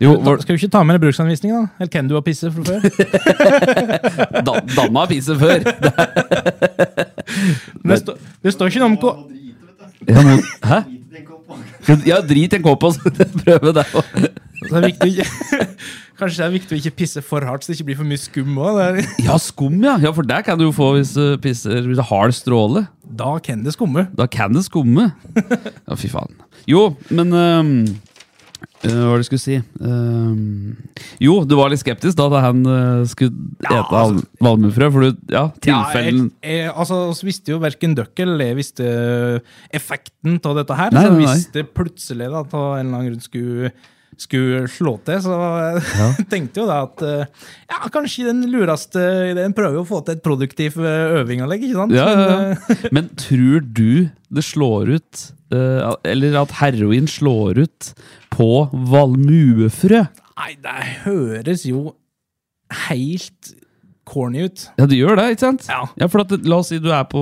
B: Jo, var,
C: Skal du ikke ta med deg bruksanvisninga, da? Eller kan du ha pisset fra før?
B: da, Danna har pisset før.
C: Men Det, står- det står ikke noe om hva
B: Ja, men, hæ? Ja, drit i en kopp og så prøve det.
C: Så det er viktig, å ikke- Kanskje det er viktig å ikke pisse for hardt, så det ikke blir for mye skum òg.
B: Ja, skum, ja. ja. For det kan du jo få hvis du pisser hvis du har hard stråle.
C: Da kan det skumme.
B: Da kan det skumme. Ja, fy faen. Jo, men um, eh, Hva var det jeg skulle si? Ehm, jo, du var litt skeptisk da da han eh, skulle
C: Ja, altså-
B: ete val- valmuefrø. For du, ja, tilfellen
C: Ja, jeg, jeg, altså, oss visste jo verken dere eller jeg visste eh, effekten av dette her.
B: Nei,
C: så
B: nei, nei.
C: hvis det plutselig da, av en eller annen grunn skulle, skulle slå til, så tenkte jo da at eh, ja, kanskje den lureste ideen prøver jo å få til et produktivt eh, øvinganlegg, ikke sant?
B: ja,
C: Men,
B: ja,
C: eh,
B: ja. Men tror du det slår ut eh, Eller at heroin slår ut på valmuefrø?
C: nei, det høres jo helt corny ut.
B: Ja, det gjør det, ikke sant?
C: Ja.
B: for at, la oss si du er på,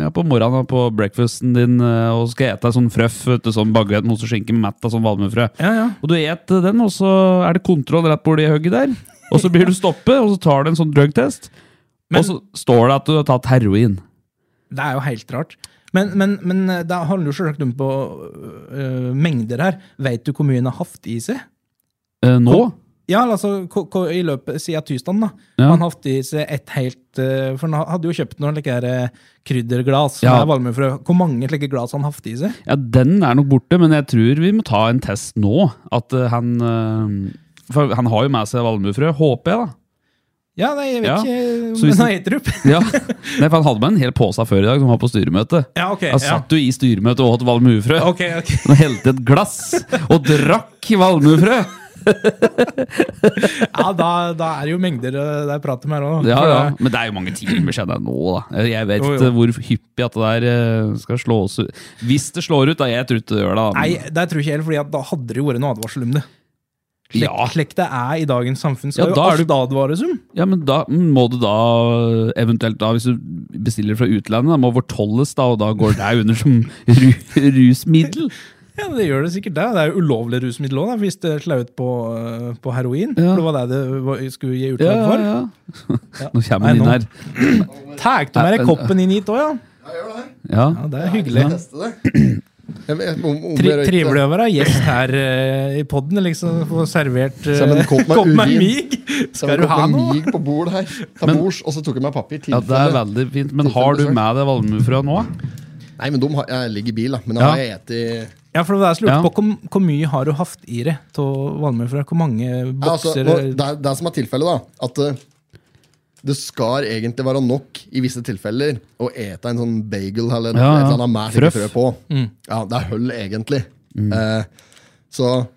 B: ja, på morgenen da, på breakfasten din eh, og skal ete sånn frøff, vet du, sånn baguett med ost og skinke med mett av sånn valmuefrø.
C: Ja, ja.
B: Og du et eh, den, og så er det kontroll rett borti hugget der. Og så blir du stoppet, og så tar du en sånn drugtest.
C: Men-
B: Og så står det at du har tatt heroin.
C: Det er jo helt rart. Men, men, men eh, det handler jo selvsagt om på øh, mengder her. Veit du hvor mye en har hatt i seg?
B: Eh, nå?
C: Ja, eller altså ko- ko- i løpet siden tirsdag, da.
B: Ja.
C: Han hatt i seg et helt eh, For han ha- hadde jo kjøpt noen like her, eh, krydderglass
B: Ja.
C: med valmuefrø. Hvor mange slike glass han hatt i seg?
B: Ja, den er nok borte, men jeg tror vi må ta en test nå. At eh, han eh, For han har jo med seg valmuefrø, håper jeg, da.
C: Ja, nei, jeg vet
B: Ja.
C: ikke
B: Så
C: om
B: hvis
C: den
B: den-
C: har etterop.
B: Ja. Nei, for han hadde med en hel pose av før i dag, som han var på styremøte.
C: Ja, ok.
B: Han
C: Ja.
B: satt jo i styremøte og åt valmuefrø.
C: Ok, ok.
B: Han helte et glass og drakk valmuefrø!
C: Ja, da, da er det jo mengder eh, det er prat om her òg.
B: Ja, ja. Men det er jo mange timer siden det er nå, da. Jeg vet
C: Jo, jo.
B: ikke hvor hyppig at det der eh, skal slås ut. Hvis det slår ut, da. Jeg tror ikke det gjør det. da.
C: eh, Nei, det tror jeg ikke helt, fordi at da hadde det jo vært noe advarsel om det. Slik,
B: Ja.
C: slik det er i dagens samfunn, skal
B: Ja,
C: jo
B: da er
C: alt advares om.
B: Ja, men da må du da eventuelt da, hvis du bestiller fra utlandet, da må fortolles da, og da går det under som ru rusmiddel.
C: Ja, Det gjør det sikkert. Det Det er jo ulovlig rusmiddel òg, hvis det slår ut på, eh, på heroin.
B: Ja.
C: For det var det det var- skulle gi utlag for. Ja,
B: Nå kommer han inn
C: Nei,
B: her.
C: Tagte med deg koppen inn hit òg, ja.
B: Ja.
C: ja. Det er hyggelig.
A: Teste det. Jeg vet- om- om
C: Tri
A: jeg røyker-
C: trivelig å være gjest her eh, i podden, liksom. Få servert eh,
A: Som en kopp med urin.
C: mig.
A: Så jeg
C: Skal du
A: kom
C: ha
A: med
C: noe?
A: mig på bord her. Ta bords, og så tok jeg meg papir.
B: ja, det er
A: tilfelle.
B: veldig fint. Men har du med deg valmuefrø nå?
A: Nei, men de har, jeg ligger i bil, da. Men da
B: Ja.
A: har jeg spist
C: Ja, for det er så lurt
B: Ja.
C: på hvor, hvor mye har du haft i det av valmuefrø? Hvor mange
A: Ja, altså,
C: bokser eh,
A: nå,
B: eh,
A: det, er- det som er tilfellet, da, at eh, det skal egentlig være nok i visse tilfeller å ete en sånn bagel eller noe
B: Ja, ja.
A: eller annet med sikkert frø
B: Frøff. Mm.
A: på. Ja, det er høll, egentlig. Eh, så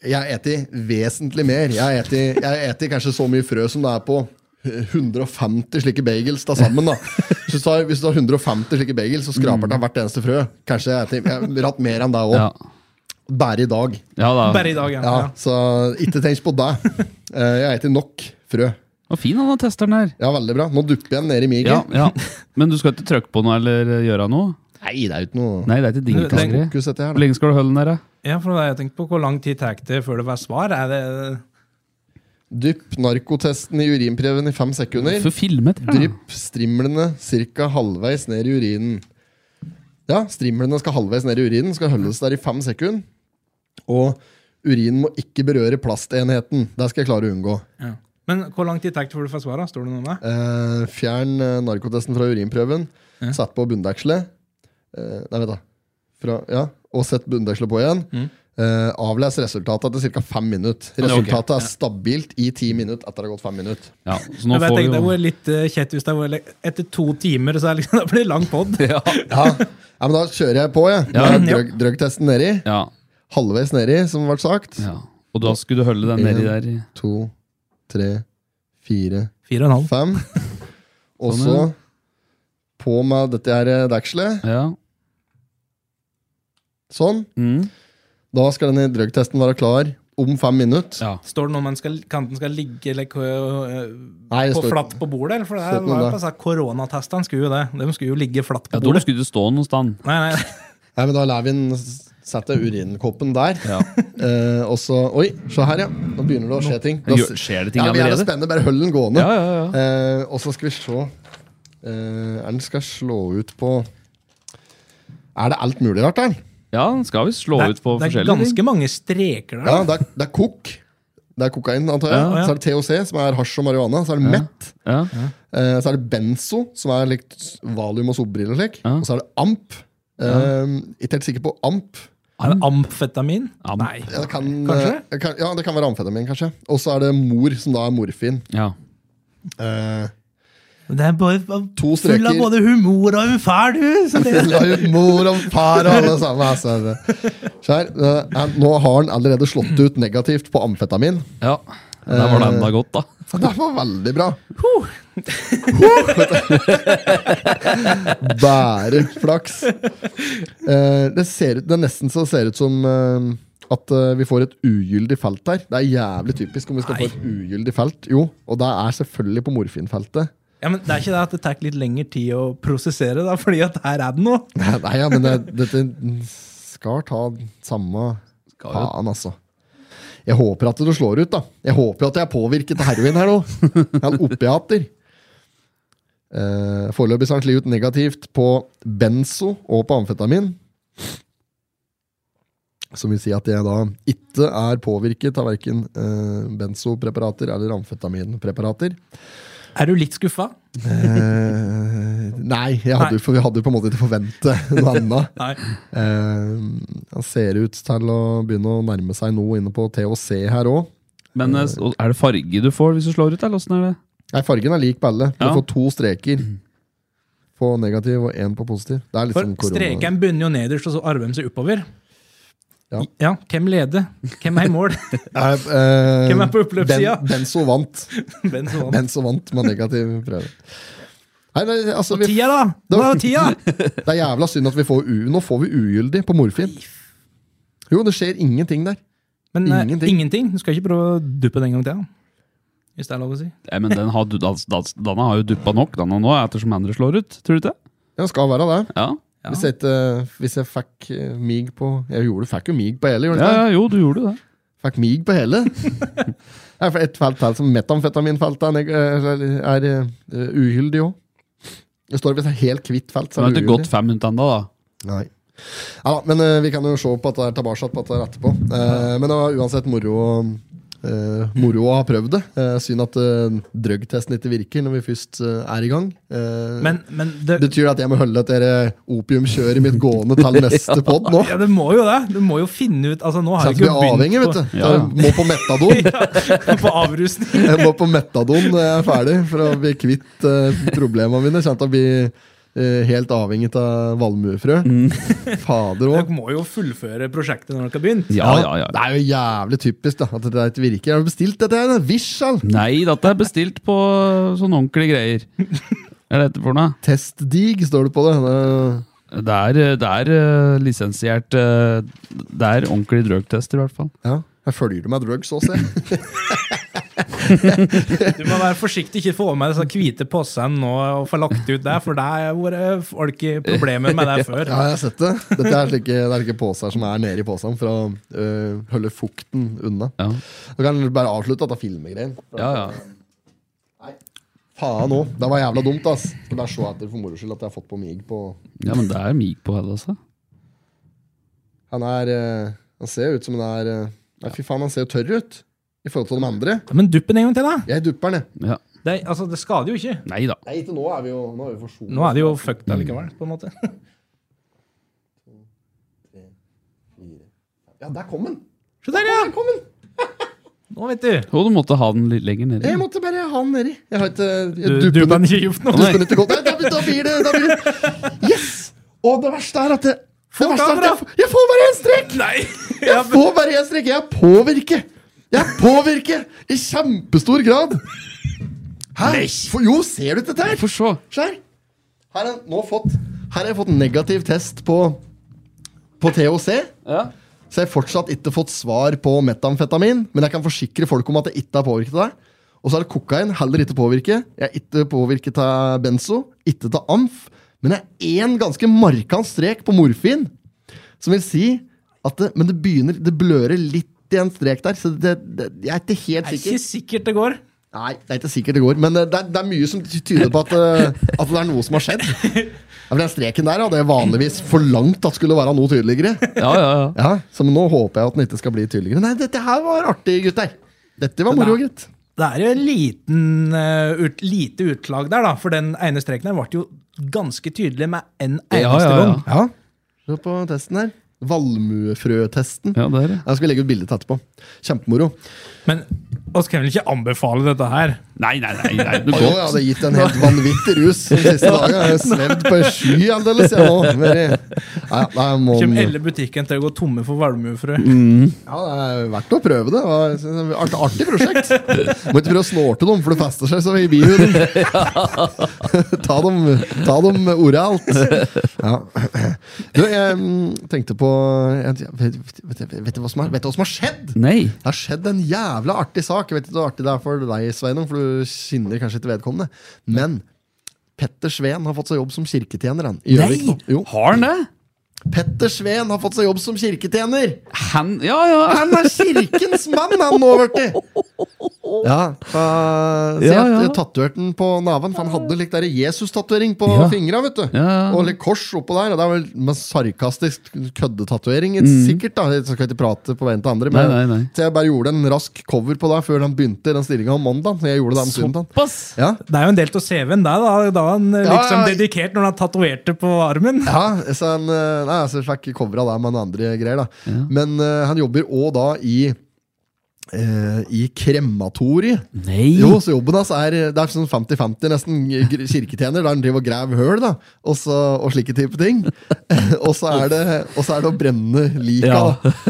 A: jeg eter vesentlig mer. Jeg eter, jeg eter kanskje så mye frø som det er på 150 slike bagels da sammen. da Så hvis du har- Hvis du har 150 slike bagels, så skraper det av hvert eneste frø. Kanskje jeg eter jeg har hatt mer enn det òg.
B: Ja.
A: Bare i dag.
B: ja da.
C: Bare i dag,
A: Ja,
C: ja. ja.
A: så ikke tenk på det. Eh, Jeg eter nok frø.
B: Å, fin han har testeren her.
A: Ja, veldig bra. Nå dupper jeg den ned i miget.
B: Ja, ja. Men du skal ikke trykke på noe eller eh, gjøre noe?
A: Nei, det er jo ikke noe
B: Nei, det er ikke digitalgreier.
A: fokus, dette her.
B: Hvor
A: da.
B: lenge skal du holde den der? da?
C: Ja, for det har jeg tenkt på. Hvor lang tid tar det før det var svar? Er det
A: Dypp narkotesten i urinprøven i fem sekunder.
B: For filmet, ja.
A: Drypp strimlene ca. halvveis ned i urinen. Ja, strimlene skal halvveis ned i urinen, skal holdes der i fem sekunder. Og urinen må ikke berøre plastenheten. Det skal jeg klare å unngå.
C: ja. Men hvor lang tid tar det før du får svar? da? Står det noe med?
A: Eh, fjern eh, narkotesten fra urinprøven. Sett på bunndekselet. Eh, nei, vent, da. Fra, ja, og sett bunndekselet på igjen. Eh, avles resultatet etter ca. fem minutter.
B: det er Mm. ok.
A: Resultatet er stabilt i ti minutter etter det har gått fem minutter.
B: ja. Så nå
C: Jeg
B: får vi
C: tenkte Det
B: jo
C: var litt eh, kjett hvis det var like, etter to timer, så er det liksom, da blir det lang pod.
B: ja.
A: Ja. ja, men da kjører jeg på, jeg.
B: Ja.
A: Ja. Drøg, drøgtesten nedi.
B: ja.
A: Halvveis nedi, som ble sagt.
B: ja. Og da skulle du holde den nedi der? i-
A: To, tre, fire,
C: Fire og en halv.
A: fem. Og
B: Sånn,
A: så
B: ja.
A: på med dette her eh, dekselet.
B: Ja.
A: Sånn.
B: Mm.
A: Da skal denne drøgtesten være klar om fem minutter.
B: ja.
C: Står det noe om man skal, kanten skal ligge eller, eh,
A: Nei, det
C: på
A: står-
C: flatt på bordet? Eller? For det
A: står
C: her
A: ikke noe
C: var jo
A: der.
C: på seg- Koronatestene skulle jo det. De skulle jo ligge flatt på
B: Ja, da
C: bordet.
B: skulle du stå noe sted.
C: Nei, nei.
A: Nei, men da lar vi den s- sette urinkoppen der.
B: Ja.
A: Eh, og så Oi, se her, ja. Nå begynner det å skje ting. Da,
B: Gjør,
A: s-
B: skjer det ting
A: ja, vi er
B: allerede?
A: spennende, bare hold den gående.
B: Ja, ja, ja.
A: Eh, og så skal vi se eh, Er den skal slå ut på Er det alt mulig rart der?
B: ja, den skal vi slå
C: Det,
B: ut på
C: er- det er
B: forskjellige ting.
C: ganske mange streker der.
A: Ja, det er, det er kok. Det er kokain, antar jeg.
C: Ja, ja.
A: Så er det THC, som er hasj og marihuana. Så er det mett.
B: Ja.
A: Eh, så er det benzo, som er likt s- valium og solbriller. Slik.
B: Ja.
A: Og så er det amp. Eh, ikke helt sikker på amp.
C: Er det amfetamin?
B: Am-
C: Nei.
A: Ja, det kan,
C: Kanskje?
A: eh, kan, ja, det kan være amfetamin, kanskje. Og så er det mor, som da er morfin.
B: Ja.
A: Eh,
C: Det er bare
A: To
C: full av
A: streker.
C: både humor og humfær, du! Så det,
A: la ut mor og far og alle sammen. Altså. Så her, eh, han- nå har han allerede slått ut negativt på amfetamin.
B: ja. Der var det enda godt, da.
A: Så det var veldig bra. Bare flaks. Eh, det, ser ut, det er nesten så det ser ut som eh, at eh, vi får et ugyldig felt her. Det er jævlig typisk om vi skal få
C: Nei.
A: et ugyldig felt. Jo, Og det er selvfølgelig på morfinfeltet.
C: ja, men det er ikke det at det tar litt lengre tid å prosessere, da, fordi at her er det noe.
A: Nei, ja, men det, dette skal ta samme
B: jo.
A: faen, altså. Jeg håper at du slår ut, da. Jeg håper at jeg er påvirket av heroin her nå. Han opiater. Eh, foreløpig så har han slitt ut negativt på benzo og på amfetamin. Som vil si at jeg da ikke er påvirket av verken eh, benzopreparater eller amfetaminpreparater.
C: Er du litt skuffa?
A: Eh, nei, jeg hadde, jo- for vi hadde jo på en måte ikke forventet noe annet.
C: Nei.
A: Eh, han ser ut til å begynne å nærme seg noe inne på THC her òg.
B: Men eh, s- og er det farge du får hvis du slår ut, eller åssen er det?
A: Nei, fargen er lik på alle. Du
B: Ja.
A: får to streker på negativ og én på positiv. Det er litt
C: For
A: sånn korona.
C: streken begynner jo nederst, og så arver de seg oppover.
A: Ja.
C: Ja. hvem leder? Hvem er i mål?
A: Nei, eh,
C: Hvem er på oppløpssida?
A: Ben- Benzo vant.
C: Ben Swan.
A: Benzo vant med negativ prøve. Nei, nei, altså, vi,
C: Tia, da! Hva er tia?
A: det er jævla synd at vi får u, nå får vi ugyldig på morfin. Jo, det skjer ingenting der.
C: Men eh,
A: Ingenting.
C: ingenting. Du skal ikke prøve å duppe den en gang til, da. hvis det er lov å si.
B: Nei, men den har, du- dans- dans- denne har jo duppa nok denne nå, ettersom andre slår ut. Tror du ikke?
A: Det skal være det.
B: Ja.
A: Hvis, jeg ikke, hvis jeg fikk eh, mig på Jeg gjorde, fikk jo mig på hele, gjorde
B: Ja,
A: jeg ikke?
B: ja, jo, du gjorde det.
A: det? Fikk mig på hele. Ja, for Et felt her som metamfetaminfeltet er, neg- er, er eh, ugyldig òg. Det står hvis det er helt hvitt felt,
B: Så
A: så
B: det
A: er
B: har
A: det
B: ikke gått
A: ugyldig.
B: fem minutter ennå, da.
A: Nei. Ja, da, men eh, vi kan jo se på at det er tilbake på at det er etterpå. Eh, men det var uansett moro, eh, moro å ha prøvd det. Eh, synd at uh, drøggtesten ikke virker når vi først eh, er i gang. Eh,
C: Men, men det,
A: Betyr det at jeg må holde dette opiumkjøret mitt gående til neste pod nå?
C: ja, det må jo det. Du må jo finne ut altså, Nå har
A: Sånn at
C: jeg
A: vi
C: ikke
A: er avhengig, vet
B: Ja,
A: du.
B: ja.
A: Jeg må på metadon.
C: på, på avrusning.
A: Jeg må på metadon når jeg er ferdig, for å bli kvitt eh, problemene mine. Kjent å bli eh, helt avhengig av valmuefrø. Fader òg.
C: Dere må jo fullføre prosjektet når dere har begynt.
B: Ja, ja, ja.
A: Det er jo jævlig typisk da, at det ikke virker. Jeg har bestilt dette. her, da. Vishal!
B: Nei, dette er bestilt på sånne ordentlige greier. Er det dette for noe?
A: Testdig, står det på det. det er-
B: Det er, det er eh, lisensiert eh, Det er ordentlige drøgtester, i hvert fall.
A: Ja. Jeg følger med drugs òg, ser jeg.
C: Du må være forsiktig, ikke få med disse hvite posene nå og få lagt ut der, for der har vært folk i problemer med det før.
A: Ja, jeg har sett det. Dette er slike, det er slike poser som er nede i posen for å øh, holde fukten unna.
B: Ja,
A: Du kan bare avslutte dette filmegreien.
B: ja. ja.
A: Faen òg. Det var jævla dumt, ass. Skal bare se etter for moro skyld at jeg har fått på mig på
B: ja men det er mig på hele, altså.
A: Han er øh, Han ser jo ut som han er øh, Nei, fy faen, han ser jo tørr ut i forhold til de andre.
C: Men duppen en gang til, da!
A: Jeg dupper den, jeg.
B: Ja.
C: Det, altså, det skader jo ikke.
B: Nei da.
A: Nei, ikke nå er vi jo Nå er vi forsonet.
C: Nå er det jo fucked allikevel, på en måte.
A: Ja, der kom den!
C: Se der,
A: Der
C: ja!
A: kom den!
C: Nå, vet du.
B: Og du måtte ha den litt lenger nedi.
A: Jeg måtte bare ha den nedi. Jeg har ikke eh, jeg
C: Du
A: dupper den
C: dupper den ikke gjort noe.
A: Tusen minutter godt. Nei, da, da blir det, da blir det. Yes! Og det verste er at det, det verste er at jeg, får- jeg får bare én strek!
C: Nei!
A: Jeg får bare én strek. Jeg er påvirket. Jeg er påvirket i kjempestor grad. Hæ? For, jo, ser du dette her?
B: Få se.
A: Se her. Her har jeg nå fått, her har jeg fått negativ test på, på THC.
B: Ja.
A: Så jeg har fortsatt ikke fått svar på metamfetamin, men jeg kan forsikre folk om at det ikke har påvirket deg. Og så er det kokain, heller ikke påvirket. Jeg er ikke påvirket av benzo, ikke av amf, men det er én ganske markant strek på morfin, som vil si at det, Men det begynner, det blører litt i en strek der, så det, det, jeg er ikke helt
C: Det er
A: sikker.
C: ikke sikkert det går.
A: Nei, det er ikke sikkert det går, men eh, det er, det er mye som tyder på at, eh, at det er noe som har skjedd. Ja, for Den streken der hadde jeg vanligvis forlangt at skulle være noe tydeligere.
B: Ja, ja, ja.
A: Ja, så nå håper jeg at den ikke skal bli tydeligere. Nei, dette her var artig, gutter. Dette var moro, gutt.
C: Det er jo en liten, eh, ut, lite utlag der, da, for den ene streken der ble jo ganske tydelig med en
B: Ja, ja,
C: eneste
B: ja.
C: gang.
A: Ja. Se på testen her. Valmuefrøtesten.
B: Ja, der, ja.
A: Jeg skal legge ut bilde etterpå. Kjempemoro.
C: Men oss kan vel ikke anbefale dette her?
B: Nei, nei, nei. nei. Du
A: Å,
B: går.
A: jo, jeg hadde gitt en helt vanvittig rus de siste dagene. Jeg har svevd på en sky aldeles, jeg nå. Very- Ja, ja, jeg må-
C: Kommer hele butikken til å gå tomme for valmuefrø?
A: Ja, det er verdt å prøve det. det. var et Art, artig prosjekt. Må ikke prøve å snorte dem, for det fester seg så i bihuden. ta dem, ta dem oralt. Ja. Du, jeg mm, tenkte på jeg, vet, vet, vet, du hva som er, vet du hva som har skjedd?
B: Nei.
A: Det har skjedd en jævla artig sak. Jeg vet ikke hvor artig det er for deg, Sveinung, for du kjenner kanskje ikke vedkommende. Men Petter Sveen har fått seg jobb som kirketjener. Han. i Gjøvik
B: nei.
A: nå. Jo.
B: Har han det?
A: Petter Sveen har fått seg jobb som kirketjener!
B: Han Ja, ja.
A: Han er kirkens mann, han nå, Børti! Ja, uh, så jeg,
B: Ja, ja.
A: jeg tatoverte den på naven, for han hadde litt der Jesus-tatovering på
B: Ja.
A: fingra. vet du
B: Ja, ja.
A: Og litt kors oppå der. Og det er vel med sarkastisk køddetatovering. Sikkert, da. Jeg skal ikke prate på vegne til andre. Men
B: Mm. Nei, nei, nei.
A: Så jeg bare gjorde en rask cover på det før han begynte i den stillinga om mandag. Så jeg gjorde det om søndag.
B: Såpass.
A: Ja.
C: Det er jo en del av CV-en der, da. Da er han eh,
A: Ja,
C: liksom
A: ja, ja.
C: dedikert når han har tatovert det på armen.
A: Ja, så han eh, nei, altså, jeg fikk covra der med noen andre greier. da Men eh, han jobber òg da i eh, i krematoriet.
B: Nei!
A: Jo, så jobben hans er Det er sånn 50-50, nesten gr- kirketjener, der han driver og graver høl da, og, så, og slike type ting. og, så er det, og så er det å brenne lika.
B: Ja.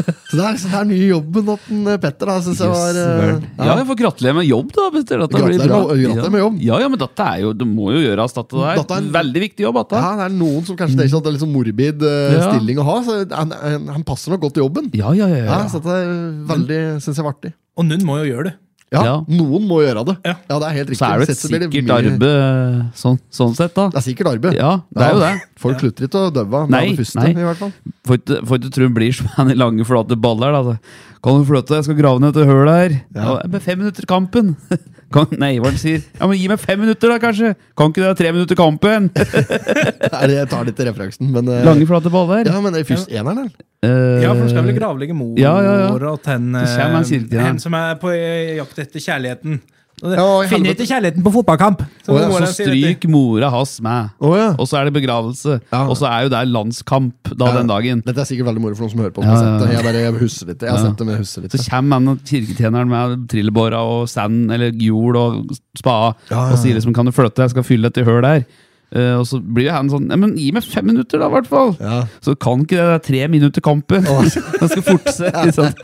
A: da. Så det er, så det er nye jobben til den, eh, Petter. da, synes jeg var... eh,
B: Yes, ja, jeg får gratulere med jobb, da. Petter. Dette blir
A: Gratulerer-
B: bra.
A: gratulerer med jobb.
B: Ja, ja, men dette er jo, det må jo gjøres, dette der.
A: Dette er en-
B: Veldig viktig jobb, dette.
A: Ja, det er noen som kanskje tenker at det er litt sånn morbid eh,
B: Ja.
A: stilling å ha. Så han, han, han passer nok godt til jobben.
B: Ja, ja, ja. ja.
A: Ja, så det er veldig, synes jeg var artig.
C: Og noen må jo gjøre det.
A: Ja,
B: Ja.
A: Noen må gjøre det.
C: Ja.
A: Ja, det er helt riktig.
B: så er det et
A: Sett blir
B: sikkert
A: mye-
B: arbeid sånn, sånn sett, da.
A: Det er sikkert arbeid.
B: Ja, det er jo det.
A: Folk slutter ikke å døve av
B: Nei,
A: det første.
B: nei.
A: i hvert fall.
B: Får ikke får ikke tro hun blir som han i lange, flate baller. Da. Så, Kan du flytte deg, jeg skal grave ned et høl her. Ja. Med fem minutter til kampen. Kan, nei, hva er det han sier Ja, men Gi meg fem minutter, da, kanskje! Kan ikke det være tre minutter til kampen?
A: Nei, jeg tar litt til referansen, men eh,
B: Lange, flate baller.
A: Ja, men det er først eneren, eller?
B: Eh,
C: Ja, for det skal vel gravlegge mor
B: Ja, ja, ja.
C: og ten,
B: Det kommer en kirke, ja.
C: hen som er på eh, jakt etter kjærligheten. Og det,
A: Ja, i
C: finner
A: helvete.
C: ikke kjærligheten på fotballkamp!
A: Å,
C: nå
A: ja,
C: går
B: Så
C: det og sier dette.
B: stryk mora hans med.
A: Å, ja.
B: Og så er det begravelse.
A: Ja.
B: Og så er jo det landskamp da
A: Ja.
B: den dagen.
A: Dette er sikkert veldig moro for noen som hører på.
B: Ja,
A: som har sett
B: ja,
A: det.
B: ja.
A: Jeg bare jeg husker litt. Jeg har
B: Ja.
A: sett det, men jeg husker litt.
B: Så kommer han og kirketjeneren med trillebåra og sand eller hjul og spade
A: Ja, ja,
B: og sier liksom 'kan du flytte, jeg skal fylle dette hølet her'. Eh, og så blir jo han sånn «Nei, 'men gi meg fem minutter, da, i hvert fall'.
A: Ja.
B: Så kan ikke det, det er tre minutter kampen. Han skal forte seg. ikke sant?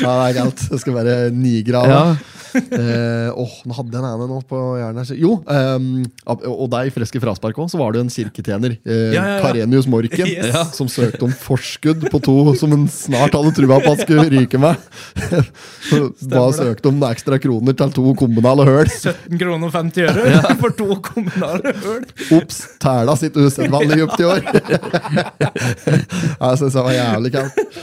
A: ja, det er galt. Det skal være nigrader.
B: Ja.
A: Eh, åh, nå hadde jeg en ene nå på hjernen her. Jo, ehm, ab- og deg i Freske Fraspark òg, så var det jo en kirketjener. Eh,
C: Ja, ja, ja.
A: Karenius Morken.
C: Yes.
A: Som søkte om forskudd på to som han snart hadde trua på at skulle ryke med. Så Bare
C: det.
A: søkte om noen ekstra kroner til to kommunale høl.
C: 17 kroner og 50 øre for to kommunale høl.
A: Ops, tæla sitt usedvanlig dypt i år. Ja, jeg syns det var jævlig kaldt.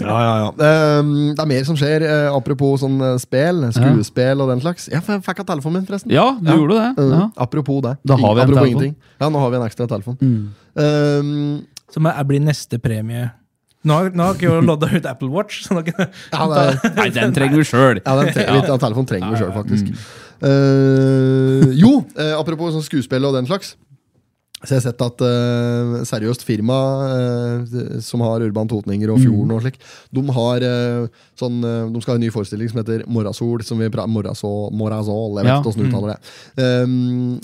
A: Ja, ja, ja. Ehm, det er mer som skjer, eh, apropos sånn eh, spel, skuespill og den slags. Jeg f- fikk av telefonen min, forresten.
B: ja, du gjorde det.
A: Eh,
B: Ja.
A: Apropos det.
B: Da har vi en
A: apropos
B: telefon.
A: ingenting. Ja, nå har vi en ekstra telefon. Ehm,
C: Som er- blir neste premie. Nå har, nå har ikke jeg lodda ut Apple Watch. Så nå kan,
A: ja, det er,
B: Nei, den trenger du sjøl.
A: ja, den, tre den telefonen trenger vi sjøl, faktisk. Eh, jo, eh, apropos sånn skuespill og den slags. Så jeg har sett at eh, seriøst firma eh, som har Urban Totninger og Fjorden og slik, de, har, eh, sånn, eh, de skal ha en ny forestilling som heter Morrasol. Som vi pra Morrasol, Morrasol, jeg vet
B: Ja.
A: ikke hvordan du uttaler det. Um,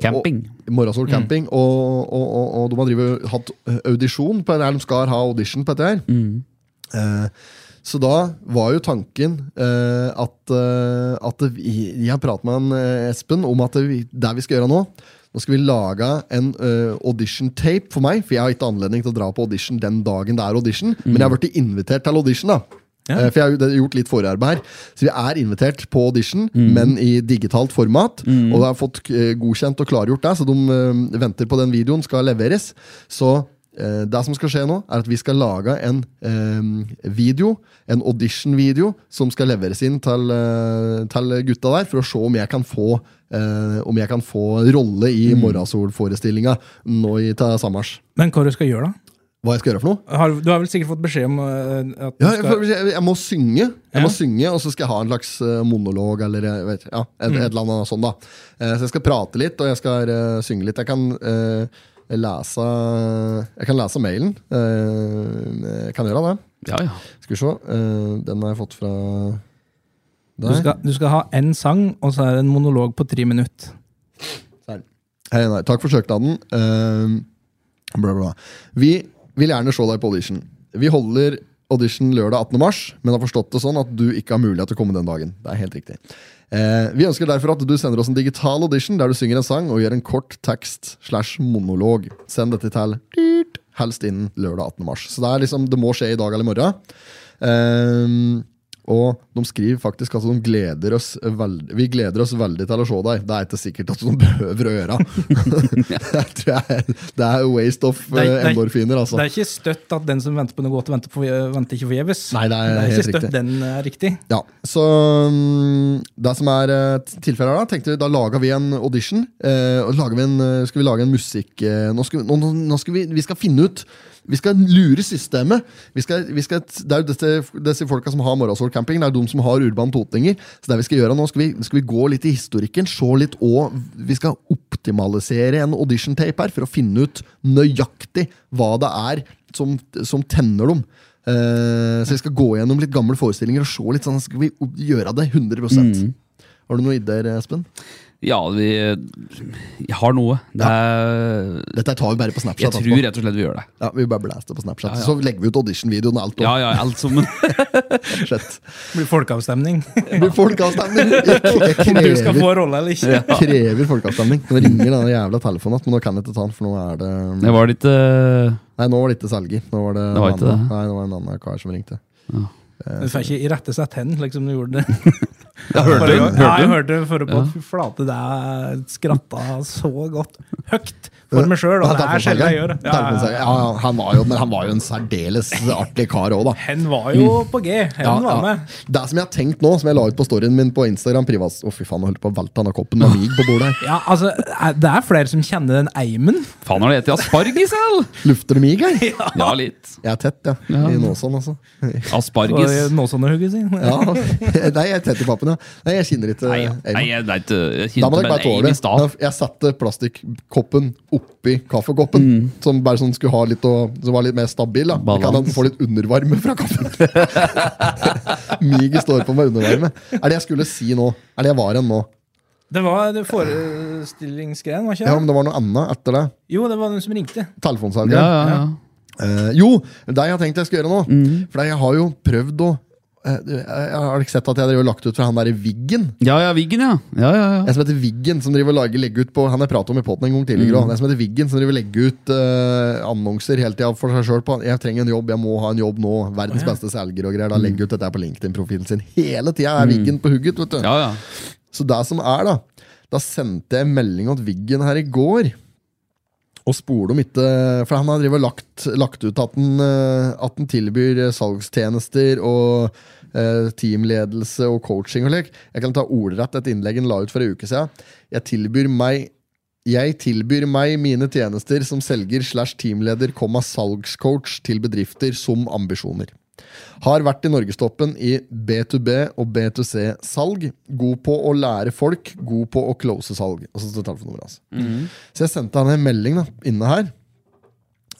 B: Camping.
A: Morrasol camping. Og, og, og, og de har drivet, hatt audisjon på eller de skal ha audition på dette her. Eh, så da var jo tanken eh, at, eh, at det- Jeg har pratet med han, eh, Espen om at det, vi- det vi skal gjøre nå Nå skal vi lage en eh, audition tape for meg, for jeg har ikke anledning til å dra på audition den dagen det er audition. Men jeg har blitt invitert til audition, da. Eh, For jeg har jo- det er gjort litt forarbeid her. Så vi er invitert på audition, men i digitalt format. Og det har fått eh, godkjent og klargjort det, så de eh, venter på den videoen skal leveres. Så eh, det som skal skje nå, er at vi skal lage en eh, video, en audition-video, som skal leveres inn til, eh, til gutta der, for å se om jeg kan få eh, om jeg kan få rolle i Morrasol-forestillinga nå i til sommers.
C: men hva du skal gjøre, da?
A: Hva jeg skal gjøre for noe?
C: Har, du har vel sikkert fått beskjed om eh, at du
A: Ja, jeg,
C: skal,
A: jeg, jeg må synge, jeg
C: Ja.
A: må synge, og så skal jeg ha en slags eh, monolog eller jeg vet, ja, et,
C: Mm.
A: et eller annet sånn da. Eh, så jeg skal prate litt, og jeg skal eh, synge litt. Jeg kan eh, lese Jeg kan lese mailen. Eh, jeg kan gjøre det.
B: Ja, ja.
A: Skal vi se. Eh, den har jeg fått fra
C: du,
A: der.
C: skal, du skal ha én sang, og så er det en monolog på tre minutter.
A: Hei, nei, takk for søknaden. Eh, bla, bla, bla. Vi vil gjerne se deg på audition. Vi holder audition lørdag 18. mars, men har forstått det sånn at du ikke har mulighet til å komme den dagen. Det er helt riktig. Eh, vi ønsker derfor at du sender oss en digital audition der du synger en sang og gjør en kort tekst slash monolog. Send dette til dyrt, helst innen lørdag 18. mars. Så det, er liksom, det må skje i dag eller i morgen. Eh, og de skriver faktisk at de gleder oss veld, vi gleder oss veldig til å se deg. Det er ikke sikkert at de behøver å gjøre. det, tror jeg, er- det er waste of
C: Nei,
A: eh,
C: nei.
A: endorfiner, altså.
C: Det er ikke støtt at den som venter på noe godt, venter, på, venter ikke forgjeves.
A: Nei, det er
C: ikke
A: helt
C: støtt
A: riktig.
C: den er riktig.
A: Ja, så mm, det som er eh, t- tilfellet her da, tenkte vi, da laget vi en audition, eh, og laget vi en, eh, skal vi lage en musikk, eh, nå skal, vi- nå, nå- nå skal vi, vi skal finne ut, vi skal lure systemet, vi skal, vi skal, det er jo disse, disse folka som har Morrasol Camping, det er jo de som har urban totninger, så det vi skal gjøre nå, skal vi, skal vi gå litt i historikken, se litt, og vi skal optimalisere en audition tape her, for å finne ut nøyaktig hva det er som, som tenner dem. Eh, så vi skal gå gjennom litt gamle forestillinger og se litt sånn, skal vi opp- gjøre det 100
B: Mm.
A: Har du noen ideer, Espen?
B: Ja, vi jeg har noe. Det er,
A: Dette tar vi bare på
B: jeg
A: Snapchat.
B: tror rett og slett vi gjør det.
A: Ja, vi bare blaster på Snapchat Så legger vi ut audition-videoen og alt.
B: Ja, ja, alt som
A: og slett.
C: Blir folkeavstemning.
A: Det blir folkeavstemning! Jeg, jeg
C: Om du skal
A: krever,
C: få rolla eller ikke.
A: krever folkeavstemning. Nå ringer den jævla telefonen igjen, men nå kan jeg ikke ta den. For nå er det
B: Det var litt eh,
A: Nei, nå var det ikke Selgi. Nå var det,
B: Det var ikke
A: en annen-
B: det.
A: Nei, det var en annen kar som ringte.
C: Du får ikke irettesette hen, slik som liksom, du gjorde det.
B: Hørte
C: Forrige
B: du?
C: gang. Ja,
B: Hørte
C: jeg
B: du?
C: hørte det forrige på
B: Ja.
C: Fy flate, det er skratta så godt. Høgt for meg sjøl, og det er sjelden jeg gjør det. Ja,
A: Telefonselger.
C: ja,
A: Ja,
C: ja.
A: ja, han var jo, men han var jo en særdeles artig kar òg, da.
C: Hen var jo på G. Hen
A: Mm. Ja,
C: var
A: ja.
C: med.
A: Det som jeg har tenkt nå, som jeg la ut på storyen min på Instagram privat Å, fy faen, jeg holdt på å velte denne koppen med mig på bordet her.
C: Ja, altså, Det er flere som kjenner den eimen.
B: Faen, har du spist asparges, eller?
A: Lufter du mig her? Jeg
B: Ja, litt.
A: er tett, ja. I Nåsånn, altså.
B: Asparges.
A: eh,
C: Noe sånt hugget sin.
A: Ja. Nei, jeg er tett i pappen, ja. Nei, jeg kjenner ikke
B: Nei, ja.
A: Eivind.
B: Nei, jeg veit Jeg
A: Da
B: kjente
A: må dere
B: meg
A: bare
B: en
A: tåle
B: eim i
A: det.
B: stad.
A: Jeg satte plastikkoppen oppi kaffekoppen, som bare sånn skulle ha litt å, som var litt mer stabil. da Det Kan
B: Mm. Balans.
A: han få litt undervarme fra kaffen? Miget står på med undervarme. Er det jeg skulle si nå? Er det jeg var igjen nå?
C: Det var det forestillingsgreien, var ikke
A: Ja,
C: det?
A: men det var noe annet etter det.
C: Jo, det var den som ringte.
A: Telefonsalget.
B: Ja, ja, ja.
A: Eh, jo, det jeg har tenkt jeg skal gjøre nå. For jeg har jo prøvd å eh, du, jeg- jeg Har dere sett at jeg har lagt ut fra han derre Viggen?
B: Ja, ja, Viggen, ja. ja, ja, ja.
A: En som heter Viggen, som driver og lager, legger ut på Han jeg pratet om i podden en gang tidligere. Mm. En som heter Viggen, som driver og legger ut eh, annonser hele tida for seg sjøl på Jeg trenger en jobb, jeg må ha en jobb nå. Verdens beste selger og greier. Da legger ut dette her på LinkedIn-profilen sin. Hele tida er Viggen på hugget. vet du
B: ja, ja.
A: Så det som er, da Da sendte jeg en melding til Viggen her i går. Og spurte om ikke For han har drevet og lagt, lagt ut at han, eh, at han tilbyr eh, salgstjenester og eh, teamledelse og coaching og slik. Jeg kan ta ordrett et innlegg han la ut for en uke siden. Jeg tilbyr meg jeg tilbyr meg mine tjenester som selger slash teamleder, komma salgscoach til bedrifter som ambisjoner. Har vært i norgestoppen i B2B og B2C-salg. God på å lære folk, god på å close salg. Og så står telefonnummeret hans. altså. Så jeg sendte han en melding da, inne her.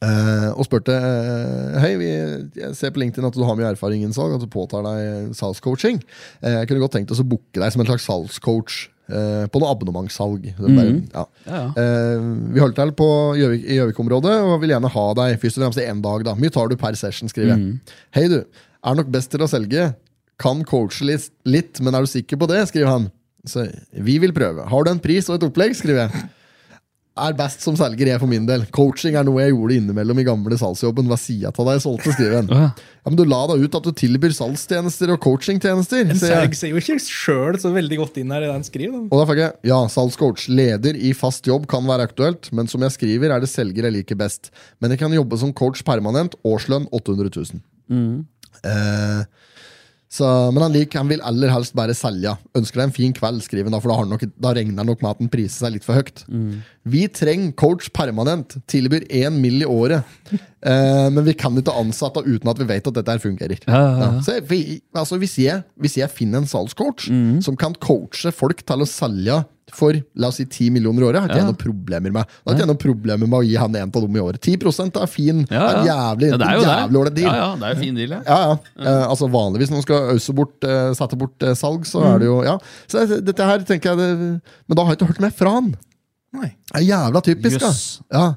A: eh, og spurte eh, Hei, vi, jeg ser på LinkedIn at du har mye erfaring innen salg, at du påtar deg salgscoaching. Eh, jeg kunne godt tenkt oss å booke deg som en slags salgscoach eh, på noe abonnementssalg. Det ble- ja.
B: Mm. ja, ja.
A: Eh, vi holder til på Gjøvik, i Gjøvik-området og vil gjerne ha deg først og fremst i én dag. da. Mye tar du per session,
B: Mm.
A: skriver jeg. Hei, du. Er nok best til å selge. Kan coache litt, litt, men er du sikker på det? skriver han. Så vi vil prøve. Har du en pris og et opplegg? skriver jeg. Er best som selger, jeg for min del. Coaching er noe jeg gjorde innimellom i gamle salgsjobben. Hva sier jeg til deg? Solgte, skriver han.
B: Ja.
A: Ja, men du la da ut at du tilbyr salgstjenester og coachingtjenester.
C: En
A: sier jeg.
C: Serg ser jo ikke sjøl så veldig godt inn her i den skriv. da.
A: Og da fikk jeg ja, salgscoach. Leder i fast jobb kan være aktuelt, men som jeg skriver, er det selger jeg liker best. Men jeg kan jobbe som coach permanent. Årslønn 800 000. Eh, så, men han liker, han vil aller helst bare selge. Ønsker deg en fin kveld, skriver han da, for da, har han nok, da regner han nok med at han priser seg litt for høyt.
B: Mm.
A: Vi trenger coach permanent. Tilbyr én mill. i året. Eh, men vi kan ikke ansette uten at vi vet at dette her fungerer.
B: ja, ja.
A: Ja. Så jeg, vi- altså hvis, jeg, hvis jeg finner en salgscoach
B: Mm.
A: som kan coache folk til å selge for la oss si 10 millioner i året, har ikke jeg noen problemer med Da har ikke jeg noen problemer med å gi han en av dem i året. 10 er fin.
B: Ja,
A: Det er jævlig,
B: ja, det er jo
A: jævlig ålreit
B: det.
A: deal.
B: Ja, ja, det er jo fin deal, ja.
A: Ja, ja. Eh, altså Vanligvis når man skal ause bort, eh, sette bort eh, salg, så er det
B: Mm.
A: jo ja. Så det- dette her tenker jeg det, Men da har jeg ikke hørt mer fra han.
C: Nei.
A: Det er jævla typisk, da.
B: Jøss.
A: Ja.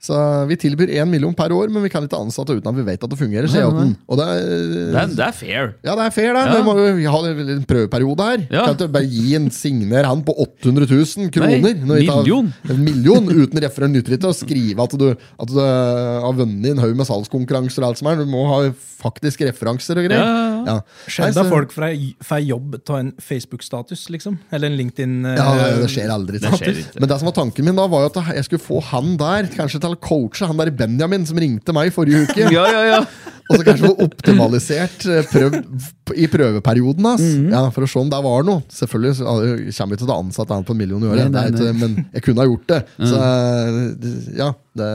A: Så vi tilbyr én million per år, men vi kan ikke ansette uten at vi vet at det fungerer.
B: Nei,
A: sier
B: nei.
A: Jotun. Og det er,
B: Det er, det er fair.
A: ja, det er fair, det.
B: Ja.
A: Vi må jo ha en prøveperiode her.
B: Ja.
A: Kan ikke bare gi en signer han på 800 000 kroner.
B: Nei,
A: når vi tar-
B: million.
A: En million uten referen nytter ikke å skrive at du, at du eh, har vunnet en haug med salgskonkurranser. og alt som er. Du må ha faktisk referanser og greier.
B: Ja,
A: Ja. Nei,
C: Skjedd
A: så-
C: at folk fra- får jobb av en Facebook-status, liksom. Eller en LinkedIn. eh,
A: Ja, det, det skjer aldri.
B: Det
A: sant?
B: skjer ikke.
A: Men det som var tanken min da, var jo at jeg skulle få han der, kanskje til å coache han der Benjamin som ringte meg forrige uke.
B: Ja, ja, ja.
A: Og så kanskje få optimalisert eh, prøv, i prøveperioden ass.
B: Mhm.
A: ja, for å se om det var noe. Selvfølgelig så, ah, jeg kommer vi til å ansette han på en million i året,
B: Nei, nei,
A: Det er ikke- men jeg kunne ha gjort det. Så eh, ja, det,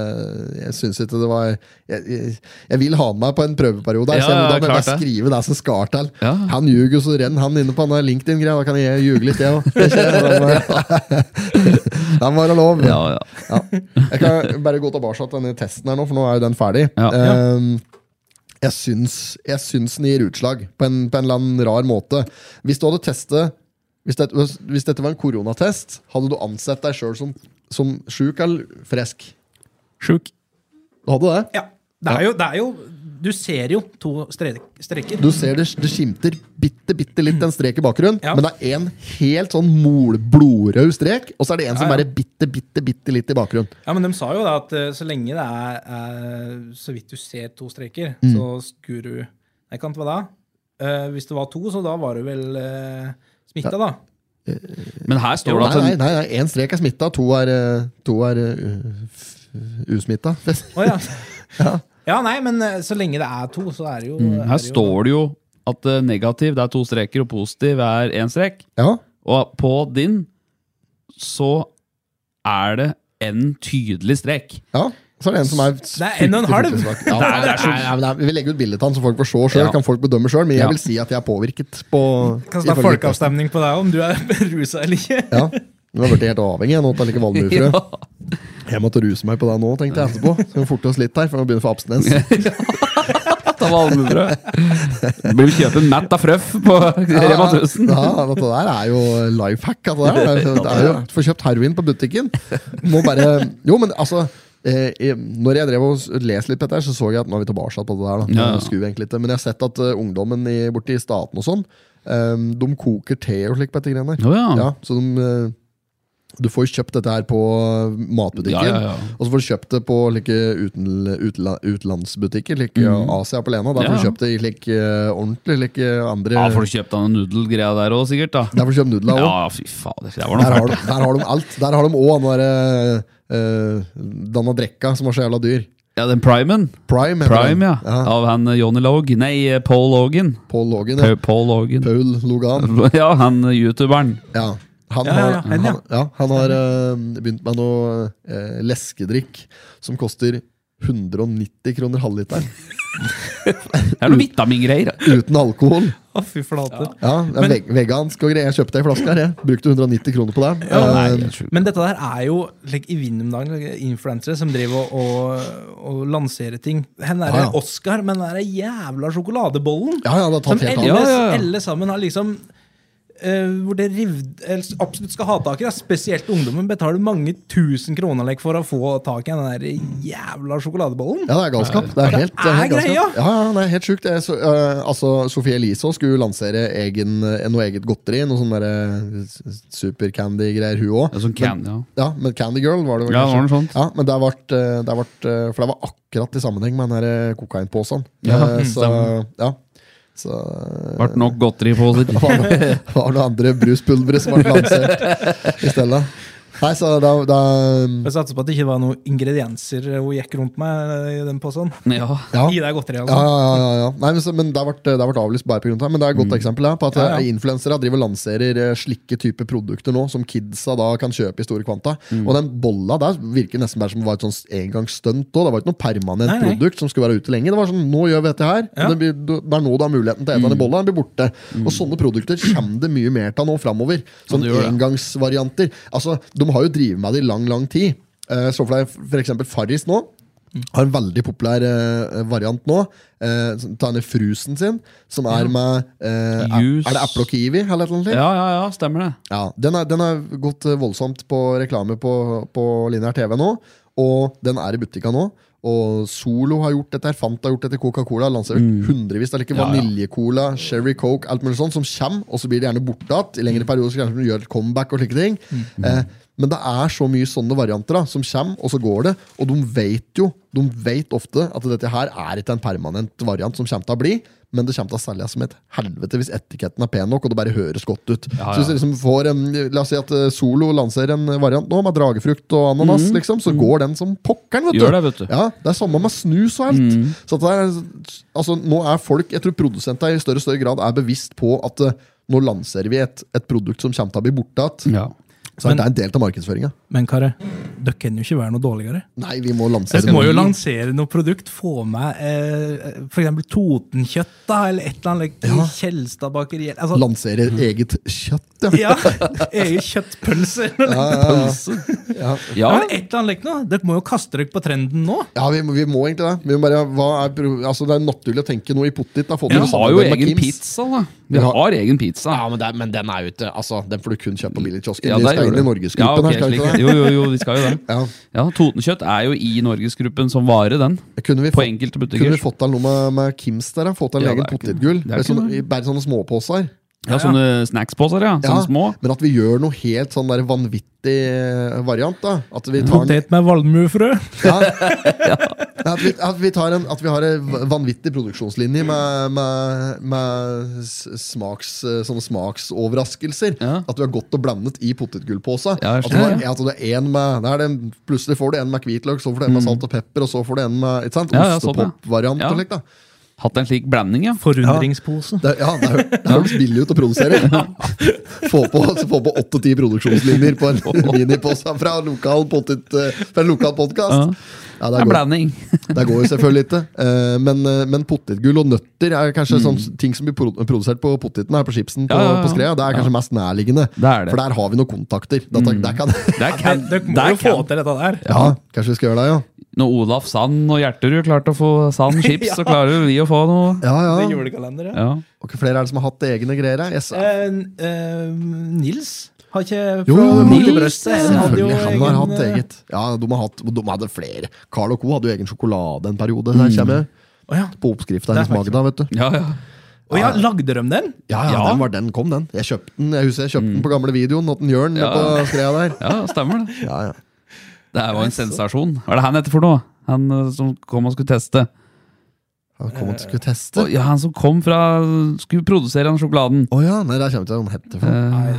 A: jeg syns ikke det var jeg, jeg, jeg vil ha han med på en prøveperiode. her,
B: Ja,
A: så jeg må da
B: ja,
A: bare
B: klart det.
A: skrive det som skal til.
B: Ja.
A: Han ljuger, så renner han inne på den der LinkedIn-greia. Da kan jeg ljuge litt, jeg eh, òg. Den var lov.
B: ja, ja.
A: Ja. Jeg kan bare gå tilbake til denne testen her nå, for nå er jo den ferdig.
B: Ja.
A: Ehm, jeg syns, jeg syns den gir utslag på en, på en eller annen rar måte. Hvis du hadde testet hvis, det, hvis dette var en koronatest, hadde du ansett deg sjøl som, som sjuk eller frisk?
B: Sjuk.
A: Du hadde det?
C: Ja. Det er jo, det er jo Du ser jo to stre- streker.
A: Du ser det, det skimter bitte, bitte litt en strek i bakgrunnen,
C: Ja.
A: men det er en helt sånn mol, blodrød strek, og så er det en som
C: Ja, ja.
A: bare bitte, bitte, bitte litt i bakgrunnen.
C: Ja, men de sa jo da at eh, så lenge det er, er så vidt du ser to streker,
A: Mm.
C: så skulle du Nei, kan det være da? Eh, hvis det var to, så da var du vel uh, smitta, da.
B: Men her står det
A: Nei,
B: at
A: nei,
B: den-
A: nei, nei, én strek er smitta, to er, eh, to er eh, f- usmitta.
C: Å ja. ja, nei, men eh, så lenge det er to, så er det jo er
B: Mm, Her
C: det jo-
B: står det jo at eh, negativ det er to streker, og positiv er én strek.
A: Ja.
B: Og på din så er det en tydelig strek.
A: ja. Så er det en som er
C: er en og en
A: fryktelig,
C: halv.
A: fryktelig svak. Ja, nei, nei, nei, vi legger ut bilde av han, så folk får se sjøl.
B: Ja.
A: Kan folk bedømme sjøl? Men jeg
B: Ja.
A: vil si at jeg er påvirket på
C: Kan vi ta
A: ifølge-
C: folkeavstemning på deg om du er rusa eller ikke?
A: Ja. Du har blitt helt avhengig av noe av like valmuefrø.
B: Ja.
A: Jeg måtte ruse meg på det nå, tenkte jeg etterpå. Så vi må forte oss litt her, for nå begynner vi å få abstinens.
B: Ta valmuebrød. Burde kjøpe en Matt av Frøff på Rema 1000.
A: Ja, dette der er jo life hack. Altså, det er, det er jo Få kjøpt heroin på butikken. Må bare Jo, men altså eh, i- når jeg drev og s- leste litt på dette, her, så så jeg at nå er vi tilbake på det der. Da.
B: Ja, ja.
A: Nå skrur vi egentlig litt, Men jeg har sett at eh, ungdommen i, borti staten og sånn, eh, de koker te og slikt på dette greiene der.
B: Å ja.
A: Ja, så de, eh, du får jo kjøpt dette her på eh, matbutikken,
B: Ja, ja, ja.
A: og så får du kjøpt det på like uten, utla, utenlandsbutikker, like Asia på Lena. Der
B: Mm.
A: får du
B: Ja.
A: kjøpt det i like eh, ordentlig, like andre
B: Ja, Får du kjøpt den nudelgreia der òg, sikkert? da
A: Der får du kjøpt nudler òg.
B: Ja, fy fader. Det var noe
A: Der har,
B: fælt.
A: de, der har de alt. Der har de òg den derre uh, Danna Drekka, som var så jævla dyr.
B: Ja, den primen.
A: Prime, heter den.
B: Prime, ja.
A: ja.
B: Av han eh, Johnny Log. Nei, eh, Paul Logan.
A: Paul Logan. Ja.
B: Pa- Paul Logan.
A: Paul Logan.
B: Ja, han eh, youtuberen.
A: Ja. Han
C: Ja,
A: har,
C: ja,
A: han,
C: ja.
A: ja, han har eh, begynt med noe eh, leskedrikk som koster 190 kroner halvliteren.
B: Det er noe vitamingreier.
A: Uten alkohol.
C: Å, fy flate.
A: Ja, det er
C: Men-
A: veg vegansk og greier. Jeg kjøpte ei flaske her, jeg. Brukte 190 kroner på det.
B: Ja, nei,
A: Eh,
B: jeg tror-
C: Men dette der er jo like, i vinden om dagen like, influensere som driver og, og, og lanserer ting. Hen er
A: Ja, ja.
C: Oscar med den der jævla sjokoladebollen.
A: ja, ja, det har
C: Som
A: tatt helt
C: alle,
A: av.
B: Ja, ja, ja.
C: alle sammen har liksom eh, hvor det rivd, eller absolutt skal ha tak i. da. Spesielt ungdommen betaler mange tusen kroner like, for å få tak i den der jævla sjokoladebollen.
A: Ja, det er galskap. Det er helt, det er helt
C: er greia.
A: galskap. Ja, ja, det er helt sjukt. Det er så- øh, altså, Sofie Elise også skulle lansere egen, eh, noe eget godteri. Noe sånn derre supercandy-greier, hun
B: Ja,
A: òg.
B: sånn can, ja.
A: Ja, men Candy Girl var det vel
B: Ja, det var
A: kanskje.
B: noe sånt.
A: Ja, men det vart, eh, det vart, eh, for det var akkurat i sammenheng med den der eh, kokainposen.
B: Ja, mm,
A: Eh, så,
B: stemmer.
A: ja. Så eh,
B: Vart nok godteriposer.
A: det var noe, var noe andre bruspulvere som ble lansert i stedet. Nei, så da, da
C: Jeg satser på at det ikke var noen ingredienser hun gikk rundt med i den posen.
B: Ja.
A: ja.
C: Gi deg godteri,
A: Ja,
C: altså.
A: ja, ja, ja. Nei, men, så, men det har vært, det har vært avlyst bare på grunn av det. Men det er et godt eksempel her, på at
C: Ja, ja.
A: eh, influensere driver og lanserer eh, slike type produkter nå, som kidsa da kan kjøpe i store kvanta. Og den bolla der virker nesten bare som det var et sånn engangsstunt òg. Det var ikke noe permanent
C: Nei, nei.
A: produkt som skulle være ute lenge. Det var sånn, nå gjør vi dette her.
C: Ja.
A: Det, blir, det er nå du har muligheten til å ete den i bolla, den blir borte. Og sånne produkter kommer det mye mer av nå framover. Sånne
B: det gjør det.
A: Sånn engangsvarianter. Altså, de har jo drevet med det i lang, lang tid. Eh, Så for deg for eksempel Farris nå har en veldig populær eh, variant nå. Eh, som- Ta denne frusen sin, som er med eh, a-
B: Juice.
A: Er det eple og kiwi? Eller noe? Ja.
B: ja, ja, ja, stemmer det.
A: Ja, den, er, den har gått eh, voldsomt på reklame på, på lineær TV nå, og den er i butikka nå. Og Solo har gjort dette, her, Fanta har gjort dette, Coca-Cola har lansert hundrevis. Det er like
B: Mm. Ja, ja.
A: Vaniljecola, Sherry Coke, alt mulig sånt som kommer, og så blir det gjerne borte igjen. I lengre perioder så kanskje de gjør et comeback og slike ting.
B: Mm.
A: Eh, men det er så mye sånne varianter da, som kommer, og så går det. Og de vet jo de vet ofte at dette her er ikke en permanent variant som kommer til å bli, men det kommer til å selges som et helvete hvis etiketten er pen nok, og det bare høres godt ut.
B: Ja,
A: Så hvis
B: ja.
A: det liksom får en, La oss si at eh, Solo lanserer en variant nå med dragefrukt og ananas, liksom, så går den som pokkeren, vet du.
B: Mm. Gjør det, vet du. Mm.
A: Ja, det er samme med snus og alt. Så at det er, altså, nå er folk, jeg tror produsenter i større og større grad er bevisst på at eh, nå lanserer vi et, et produkt som kommer til å bli borte igjen.
B: Ja.
A: Så
C: Men-
A: det er en del av markedsføringa.
C: Men karer, dere kan jo ikke være noe dårligere.
A: Nei, vi må lansere
C: Dere må jo
A: den.
C: lansere noe produkt. Få med eh, f.eks. Totenkjøtt da, eller et eller annet. like, i Kjelstad bakeri. Altså,
A: Lansere eget kjøtt, ja.
C: ja, Egen kjøttpølse. eller noe.
B: Ja,
C: Ja, men et eller annet like noe. Dere må jo kaste dere på trenden nå.
A: Ja, vi, må- vi må egentlig det. Vi må bare, hva er, pro- altså, det er naturlig å tenke noe i pottit. da, få til
B: vi
A: det
B: har jo
A: samarbeid med
B: egen
A: Kims.
B: pizza, da. Vi har egen pizza.
A: Ja, men, det, er- men den er jo ikke altså, Den får du kun kjøpe på billigkiosken.
B: Ja,
A: Ja,
B: der
A: de skal
B: gjør
A: inn i
B: det.
A: Norgesgruppen.
B: Ja, ok,
A: her, skal
B: slik
A: de ikke
B: det.
A: det?
B: Jo, jo, jo, de skal jo det.
A: Ja.
B: Ja, Totenkjøtt er jo i Norgesgruppen som vare, den.
A: Kunne vi
B: På
A: fått,
B: enkelte
A: kunne vi
B: butikker.
A: fått til noe med, med Kims der? da? Fått til en
B: Ja,
A: egen
B: det er ikke-
A: potetgull?
B: det er
A: Med
B: ikke
A: sånne-
B: noe.
A: i- sånn, Bare sånne småposer?
B: Ja, Sånne snacksposer, ja.
A: Ja,
B: Sånne små.
A: Men at vi gjør noe helt sånn der vanvittig eh, variant, da. At vi tar en,
C: Potet med valmuefrø.
A: ja. At, vi, at, vi tar en, at vi har en vanvittig produksjonslinje med, med, med s- smaks, sånne smaksoverraskelser.
B: Ja.
A: At du er godt og blandet i potetgullposa.
B: Ja, jeg
A: at du har,
B: skjønner.
A: at det er en med, det er den, plutselig får du en med hvitløk, så får du en med salt og pepper, og så får du en med ikke sant?
B: Mm. Ja, ja, sånn, ja.
A: ostepop-variant.
B: Ja.
A: og slikt, da.
B: Hatt en slik blanding, ja.
C: Forundringspose.
A: Det, ja, det, hø- det høres billig ut å produsere. Få på, altså, få på 8-10 produksjonslinjer på en minipose fra en lokal, potet, eh, fra en lokal
B: Ja.
A: podkast. Ja, det,
B: En
A: går-
B: blanding.
A: det går jo selvfølgelig ikke. Eh, Men, eh, men potetgull og nøtter er kanskje sånn ting som blir produ- produsert på poteten her på chipsen på,
B: Ja, ja, ja.
A: på Skrea. Det er kanskje mest nærliggende.
B: Det er det.
A: For der har vi noen kontakter. Dette, der kan,
B: Der
C: Men
B: kan,
C: Dere må
B: der
C: jo få
B: kan.
C: til dette der.
A: ja, kanskje vi skal gjøre det, ja.
B: Når Olaf Sand og Gjerterud klarte å få Sand chips, så klarer jo vi å få noe.
A: ja,
C: Det er
A: ja.
C: julekalender, ja.
B: Ja.
A: Og Hvor flere er det som har hatt egne greier her? Jeg sa-
C: Eh, n- eh, Nils har ikke
A: Jo, jo,
C: fra
A: Nils,
C: brøstet,
B: ja.
C: han hadde jo
A: Selvfølgelig, han har
C: egen,
A: hatt
C: eh,
A: eget. Ja, de, har hatt, de hadde flere. Carl og Co. hadde jo egen sjokolade en periode. Der kommer jeg
C: Å ja.
A: på oppskrift der
C: Det er
A: hos Magda, vet du.
B: Ja, ja.
C: Å ja, lagde de den?
A: Ja, ja,
B: Ja.
A: den var den kom, den. Jeg kjøpte den jeg husker jeg kjøpte den på gamle videoen. Åtten Jørn
B: Ja.
A: på skrea der.
B: ja, stemmer det.
A: Ja, ja.
B: Det her var en sensasjon. Hva er det han heter for noe? Han eh, som kom og skulle teste.
A: Han kom
B: Eh,
A: og skulle
B: Å,
A: teste. Å
B: Ja, Han som kom fra Skulle produsere den sjokoladen.
A: ja, nei, der kommer jeg ikke hva den het. for
B: Eh,
A: noe.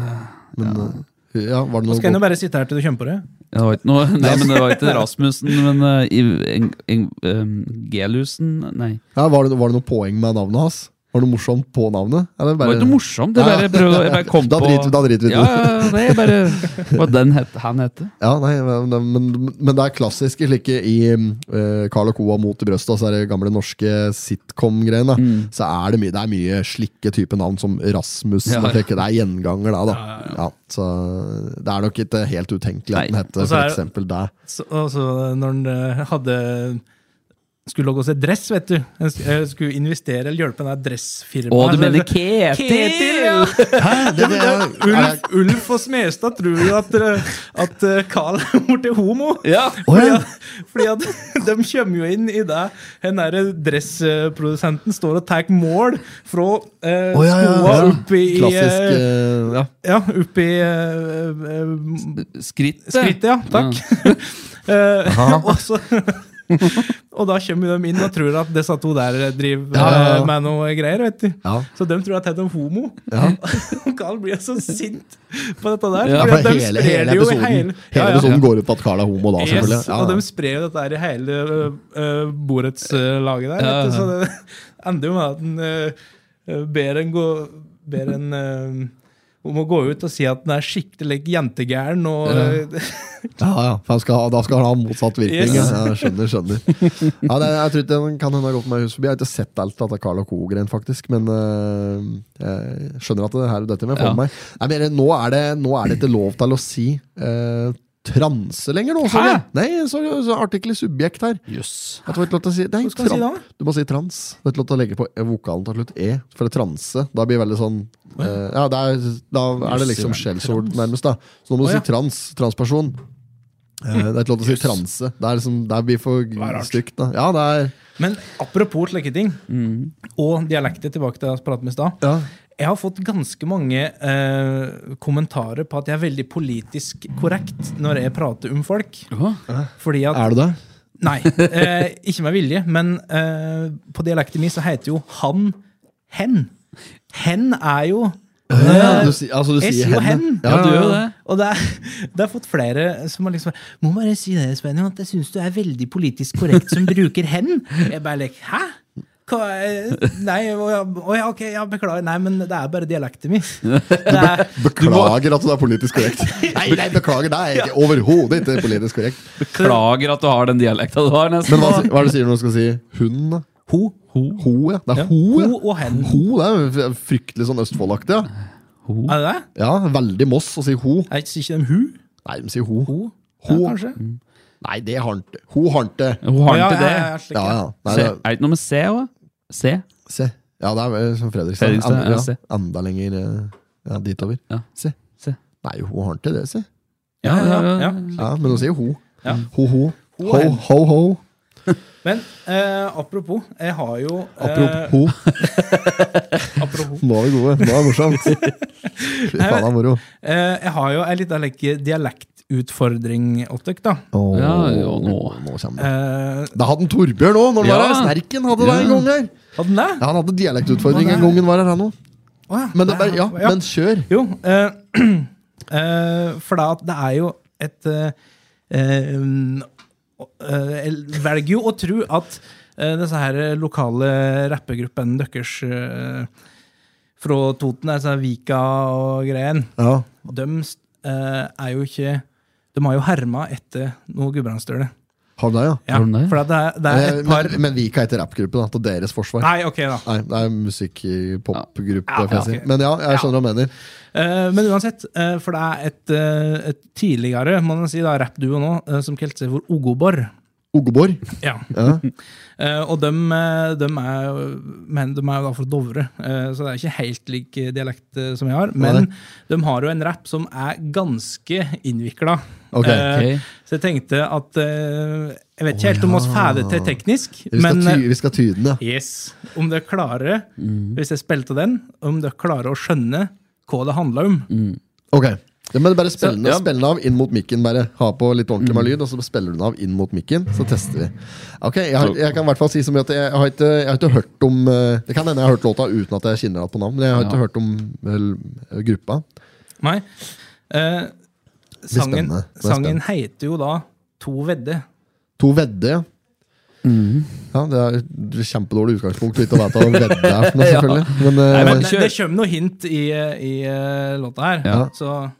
A: Men uh, ja, var det
C: Så kan du
A: noe
C: bare sitte her til du kommer på det.
B: Det var ikke noe, nei, men det var ikke Rasmussen, men eh, I- Eng- Eng- eh, Gelusen Nei.
A: ja, var, det, var det noe poeng med navnet hans? Var det noe morsomt på navnet? Eller
B: Det
A: bare-
B: var ikke noe morsomt. Det bare prøvde, jeg bare kom
A: Da driter vi- da driter vi i det.
B: Ja, ja, det. er bare Hva den het, han hette.
A: Ja, nei, men, men, men det er klassiske slike i eh, Carl og Coa mot i brøstet, altså det gamle norske sitcom-greiene.
B: Mm.
A: Så er det, mye, det er mye slike type navn som Rasmus.
B: Ja,
A: og
B: ja.
A: slike. Det er gjenganger da, da. Ja, så det er nok ikke helt utenkelig at den
B: Nei.
A: heter
C: Og så er-
A: for eksempel deg.
C: Så, og så når han eh, hadde skulle lage oss et dress, vet du. Han sk- eh, skulle investere eller hjelpe det dressfirmaet.
B: Å, du mener
C: Så-
B: Ketil?
C: sånn- Ketil, ja!
A: Det, det, er- er-
C: Ulf, Ulf og Smestad tror jo at, eh, at eh, Carl er blitt homo.
B: Ja.
C: Fordi at, fordi at de kommer jo inn i det Den der dressprodusenten står og tar mål fra eh,
A: Å, ja, ja,
C: skoa
A: ja.
C: opp i
A: Klassisk
C: eh,
A: eh, ja.
C: Ja, opp i eh, eh,
B: Skrittet.
C: Skrittet, ja. Takk. Eh, og, så, og da kommer de inn og tror at disse to der driver
A: Ja, ja, ja.
C: eh, med noe greier. vet du.
A: Ja.
C: Så de tror at jeg er en homo.
A: Ja.
C: Og Carl blir så sint på dette der.
B: Ja,
A: Ja, for
C: fordi at de
A: hele,
C: sprer
A: hele
C: det jo i
A: episoden, hele,
C: ja, ja.
A: episoden går ut på at Carl er homo da, selvfølgelig.
C: Yes,
A: Ja,
C: Og
A: ja.
C: de sprer jo dette her i hele eh, borettslaget der.
B: Ja,
C: vet
B: ja.
C: du, Så det ender jo med at en eh, ber en gå ber en eh, om å gå ut og si at den er skikkelig jentegæren og eh,
A: Ja, ja. For han skal, ha- da skal han ha motsatt virkning.
C: Yes.
A: Ja, jeg skjønner, skjønner. Ja, det, jeg tror ikke den kan hende har gått meg hus forbi. Jeg har ikke sett alt dette Carl og Co-greien, faktisk. Men øh, jeg skjønner at det her dette med får
B: Ja.
A: med meg. Nei, men eh, nå er, det, nå er det ikke lov til å si øh, transe lenger nå. Så
B: Hæ?
A: jeg. Nei, så, så artikkel i subjekt her.
B: Jøss.
A: At det var ikke lov til å si, nei,
C: Hva skal jeg si da?
A: Du må si trans. Det er ikke lov til å legge på vokalen til slutt e. For det transe, da blir det veldig sånn eh, Ja, det er, Da er det liksom skjellsord, nærmest. da Så nå må du
C: Å, ja.
A: si trans. Transperson. Eh, det er ikke lov til å si transe. Det er liksom, det blir for stygt. da Ja, det er
C: Men apropos slike ting,
A: Mm.
C: og dialekter tilbake til det vi pratet med i stad.
A: ja.
C: Jeg har fått ganske mange eh, kommentarer på at jeg er veldig politisk korrekt når jeg prater om folk. Fordi at
A: Er du det?
C: Nei, eh, ikke med vilje, men eh, på dialekten min så heter jo han hen. Hen er jo
A: Eh, Ja, du, si- altså, du
C: jeg
A: sier
C: sier jo
A: henne.
C: hen.
B: Ja, du gjør jo det.
C: Og det er, det er fått flere som har liksom Må bare si det, Svenny, at jeg syns du er veldig politisk korrekt som bruker hen. Jeg bare like, Hæ? Hva, eh, nei, å ja, å ja, ok, ja, beklager. Nei, men det er bare dialekten min. Det er,
A: Beklager at du er politisk korrekt. Nei, nei, beklager, det er ikke overhodet ikke politisk korrekt.
B: Klager at du har den dialekta du har. nesten
A: Men hva, hva er det du sier når du skal si hun? da?
C: ho, ho,
A: Ho, ja. Det er
C: ja.
A: ho, ja.
C: ho og hen.
A: Ho, det er jo fryktelig sånn Østfoldaktig. Ja.
C: Er det det?
A: ja, veldig Moss å si ho.
C: Er ikke- sier ikke de hu?
A: Nei, de sier ho.
C: Ho?
A: Ho. Mm.
C: Ja, kanskje?
A: Nei, det har han ikke. Ho har han ikke.
B: Hun har
C: Ja,
B: ikke
C: ja,
B: det.
C: ja, ja, slik,
A: Ja,
C: ja.
A: ja. Nei,
B: Se,
A: det,
B: er det ikke noe med C òg? C?
A: se. Ja, det er eh, som Fredrikstad.
B: Fredrikstad,
A: Enda,
B: ja, se.
A: ja, enda lenger eh, ja, ditover.
B: Ja.
A: Se.
B: Se.
A: Nei, ho har han ikke det, se.
C: Ja, ja, ja.
A: Ja, men hun sier ho.
C: Mm. Ja.
A: Ho, ho.
C: Ho
A: Ho,
C: er-
A: ho, ho.
C: Men eh, apropos, jeg har jo eh,
A: Apropos ho.
C: apropos.
A: Nå er vi gode. Nå er det morsomt. Fy faen, det er moro.
C: Eh, jeg har jo ei lita like, dialektutfordring åt dere, da.
A: Åh,
B: Ja, jo, nå.
A: nå kommer det.
C: Eh,
A: Det hadde han Torbjørn òg, når han var
B: Ja.
A: her. Snerken hadde det en
B: Ja.
A: gang her.
C: hadde den det?
A: Ja, han hadde dialektutfordring
C: Hva
A: en
C: det er?
A: gang han var her, han òg.
C: Å ja.
A: Men, det er bare- ja,
C: Ja.
A: men kjør.
C: Jo, eh, eh, for da, at det er jo et eh, eh, eh, Jeg velger jo å tro at eh, disse her lokale rappegruppene deres eh, fra Toten, altså Vika og greien,
A: Ja.
C: de er jo ikke De har jo herma etter noe Gudbrandsdøle.
A: Har du det, ja?
C: Ja,
B: Har de det?
C: for at det er, det er
A: Eh, Men,
C: et par
A: men, men Vika heter rappgruppe, da. Til deres forsvar.
C: Nei, ok, da.
A: Nei, det er musikk-popgruppe.
C: Ja, ja, ok.
A: Men ja, jeg skjønner hva du mener.
C: Eh, men uansett, eh, for det er et, eh, et tidligere må man si da, rappduo nå, eh, som kalte seg for Ogobor.
A: Ogoborg.
C: Ja.
A: Ja.
C: Eh, og de, er, jo- men de er jo da fra Dovre, eh, så det er ikke helt lik dialekt eh, som jeg har. Men de har jo en rapp som er ganske innvikla.
A: Ok.
B: Ok.
C: så jeg tenkte at eh, Jeg vet ikke helt om oss får det til teknisk,
A: Vi, skal
C: men eh,
A: ty, Mm. vi skal tyde den, ja.
C: Yes. Om dere klarer, hvis jeg spilte den, om dere klarer å skjønne hva det handler om.
A: Ok. Ja, men bare spill den
B: Så, ja.
A: spill den av inn mot mikken. bare Ha på litt ordentlig med lyd, og så spiller du den av inn mot mikken. Så tester vi. Ok, Jeg, har, jeg kan i hvert fall si så mye at jeg har ikke, jeg har ikke hørt om eh, Det kan hende jeg har hørt låta uten at jeg kjenner igjen på navn, men jeg har ikke hørt om vel, gruppa.
C: Nei. Eh, sangen,
A: spennende. Det blir
C: sangen
A: spennende.
C: heter jo da To vedde.
A: To vedde. Ja, det er et kjempedårlig utgangspunkt for ikke å vite hva vedde er for noe,
B: Ja.
A: selvfølgelig. Men, eh,
C: Men
B: men
C: det,
B: kjør.
C: det kommer noe hint i, eh, i eh, låta her,
B: Ja.
C: så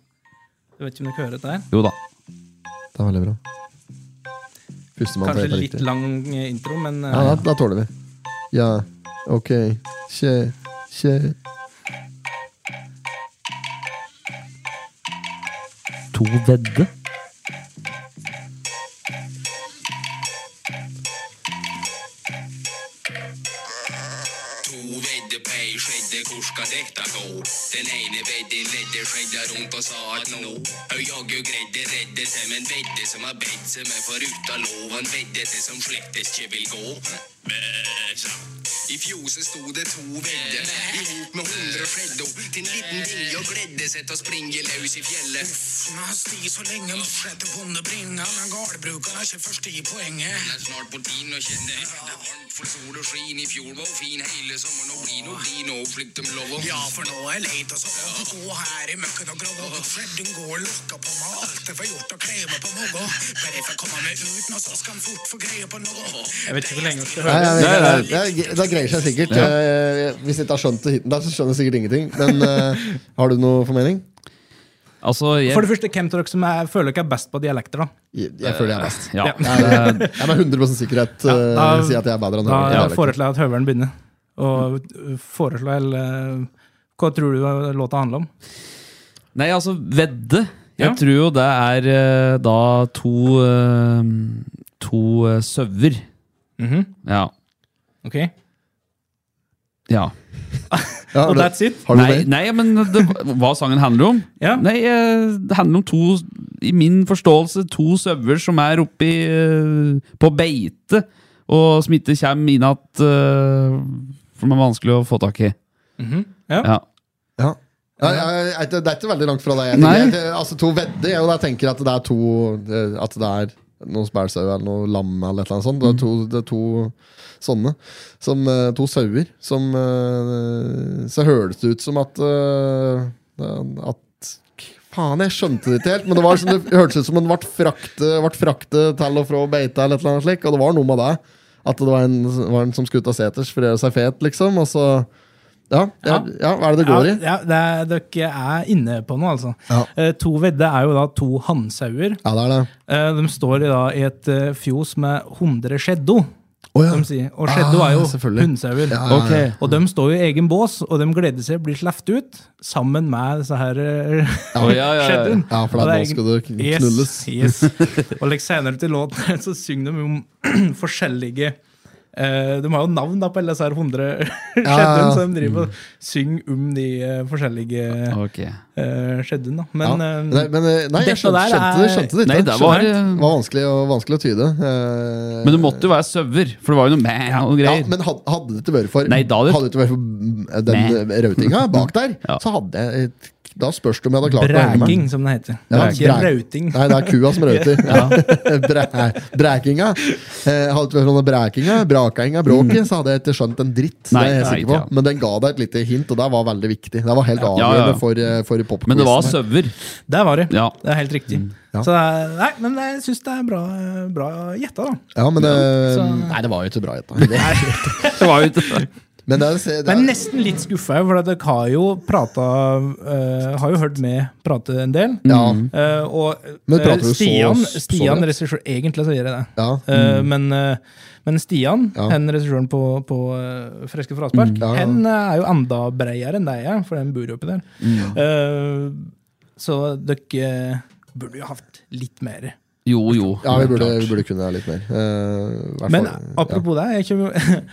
C: jeg vet ikke om dere hører dette her.
B: Jo da.
A: det er veldig bra. Førstemann til å
C: Kanskje
A: gjette
C: litt
A: riktig.
C: lang eh, intro, men eh,
A: Ja, da, da tåler vi. Ja, ok. Kjø, kjø.
B: To vedde?
G: To vedde på ei skjedde, hvor skal dette gå? Den ene vedden ledde skjedda rundt og sa at nå Høy jaggu greidde redde seg, men vedde som har bedt seg med foruta lov, han vedde til som slettes ikke vil gå. Vedda. I fjoset sto det to vedde, i hop med hundre skjeddo, til en liten dinge og gledde seg til å springe løs i fjellet.
H: Han sti så lenge han fortsetter vonde bringa, men gårdbrukeren er ikke først i poenget.
G: Den er snart på tiden å kjenne det er varmt for sol og skin. I fjor var hun fin hele sommeren, og blir nå blid nå, flykt dem lov
H: Ja, for nå er jeg leit og så vant å gå her i møkken og grogga. Fredden går og lokker på meg, alt er for gjort å kle meg på noe. Bare for å komme meg ut nå, så skal han fort få greie på noe.
C: jeg vet ikke hvor lenge dere skal
A: Nei,
C: høre.
A: jeg vet
B: Nei,
A: ikke. det, det, det greier seg sikkert. Eh, Hvis jeg ikke har skjønt det hiten der, så skjønner jeg sikkert ingenting. Men eh, har du noe formening?
B: Altså, jeg,
C: For det første, hvem av dere som er, føler dere er best på dialekter, da?
A: Jeg, jeg føler jeg er best.
B: ja.
A: Jeg er jeg er med 100 sikkerhet uh,
C: da-
A: sier at jeg er bedre enn
C: Da
A: Høveren. Jeg vet ikke.
C: foreslår jeg at Høveren begynner. Og eh, foreslår eller, eh, Hva tror du eh, låta handler om?
B: Nei, altså, vedde. Jeg
C: Ja.
B: tror jo det er eh, da to eh, To eh, sauer.
C: Mhm,
B: Ja.
C: Ok,
B: ja.
A: Ja, har
C: Og
A: du-
C: that's it?
A: Har du
B: nei,
A: det?
B: nei, men det, hva sangen handler om?
C: Ja.
B: Nei, eh, Det handler om to, i min forståelse, to sauer som er oppi eh, på beite, og som ikke kommer inn igjen for det er vanskelig å få tak i. Ja.
C: ja.
A: Mhm. Ja. Ja, ja, jeg, jeg- det er ikke veldig langt fra deg. Jeg,
B: Nei.
A: tenker- jeg, altså, to vedder er jo det jeg tenker at det er to eh, At det er noen spælsau eller noe lam eller et eller annet sånt. Det er to, det er to sånne. Som eh, to sauer. Som eh, Så høres det ut som at eh, At Faen, jeg skjønte det ikke helt, men det, var som det hørtes ut som en ble fraktet, ble fraktet til og fra beita eller et eller annet slik, og det var noe med det. At det var en, var en som skulle ut av seters for å gjøre seg fet, liksom. Og så ja, ja, ja, hva er det det går i?
C: Ja, ja, det er, dere er inne på noe, altså.
A: Ja.
C: Eh, to vedde er jo da to hannsauer.
A: Ja, det er det.
C: Eh, de står i, da, i et eh, fjos med 100 skjeddo.
A: Å, ja.
C: som de sier. Og skjeddo
A: Ah,
C: er jo
A: selvfølgelig.
C: hundsauer.
A: Ja, ja, ja.
C: Og de står jo i egen bås, og de gleder seg å bli sluppet ut sammen med disse her eh,
B: Å, ja, ja, ja.
C: skjeddoen.
A: Ja, for da,
C: Og det er
A: nå skal du
C: egen- yes,
A: knulles.
C: Yes. Og litt senere til låten så synger de om forskjellige eh, De har jo navn da på alle disse her 100 skjeddoen,
A: ja. Mm.
C: så de driver og synger om de eh, forskjellige
B: Ok.
C: uh, skjeddoen. da.
A: Ja.
C: Men
A: nei,
C: eh,
A: men, eh, nei, jeg
C: dette
A: skjønte,
C: der
A: skjønte, det,
C: er-
A: skjønte det ikke.
B: Nei, det var, eh,
A: Det var vanskelig, og, vanskelig å tyde. eh,
B: men det måtte jo være sauer, for det var jo noe mæ og
A: ja,
B: greier.
A: men had- hadde det ikke vært for,
B: Nei, da hadde-
A: hadde det ikke vært for mm, den
B: Nei.
A: rautinga bak der,
B: Ja.
A: så hadde jeg Da spørs det om jeg hadde klart å henge meg.
C: Bræking, som det heter.
A: Ja,
C: ikke
A: brek-
C: rauting.
A: Nei, det er kua som rauter. Bræ, brækinga. Eh, hadde det vært sånn brækinga, brakainga, bråket, så hadde jeg ikke skjønt en
B: Nei,
A: dritt. det er jeg
B: nei,
A: sikker på.
B: ja.
A: Men den ga deg et lite hint, og det var veldig viktig. Det var helt
B: ja,
A: avgjørende
B: ja.
A: for, eh, for popquizen.
B: Men det var sauer.
C: Der var det.
B: Ja.
C: Det er helt riktig.
A: Mm. Ja.
C: Så det er, nei, men jeg syns det er bra, bra gjetta, da.
A: Ja, men eh,
C: så-
A: Nei, det var jo ikke bra, Jetta.
B: Det var jo ikke
A: Men det er, det er,
C: Jeg er nesten litt skuffa, for at dere har jo prata eh, Har jo hørt meg prate en del.
A: Ja.
B: Mm.
C: Eh, og
A: Men
C: eh,
A: prater du så-
C: Stian,
A: så
C: Stian
A: bredt?
C: regissør Egentlig så gjør jeg det.
A: Ja.
C: Eh, men, eh, men
A: Mm.
C: Stian,
A: Ja. Mm.
C: han regissøren på, på eh, Freske fraspark,
A: Ja, ja.
C: han eh, er jo enda breiere enn deg er, for han bor jo oppi der.
A: Mm.
C: Eh, så dere burde jo hatt litt mer.
B: Jo, jo.
A: Ja, vi burde, vi burde kunne litt mer. Eh, i hvert
C: Men
A: fall, ja.
C: apropos det, jeg, kommer,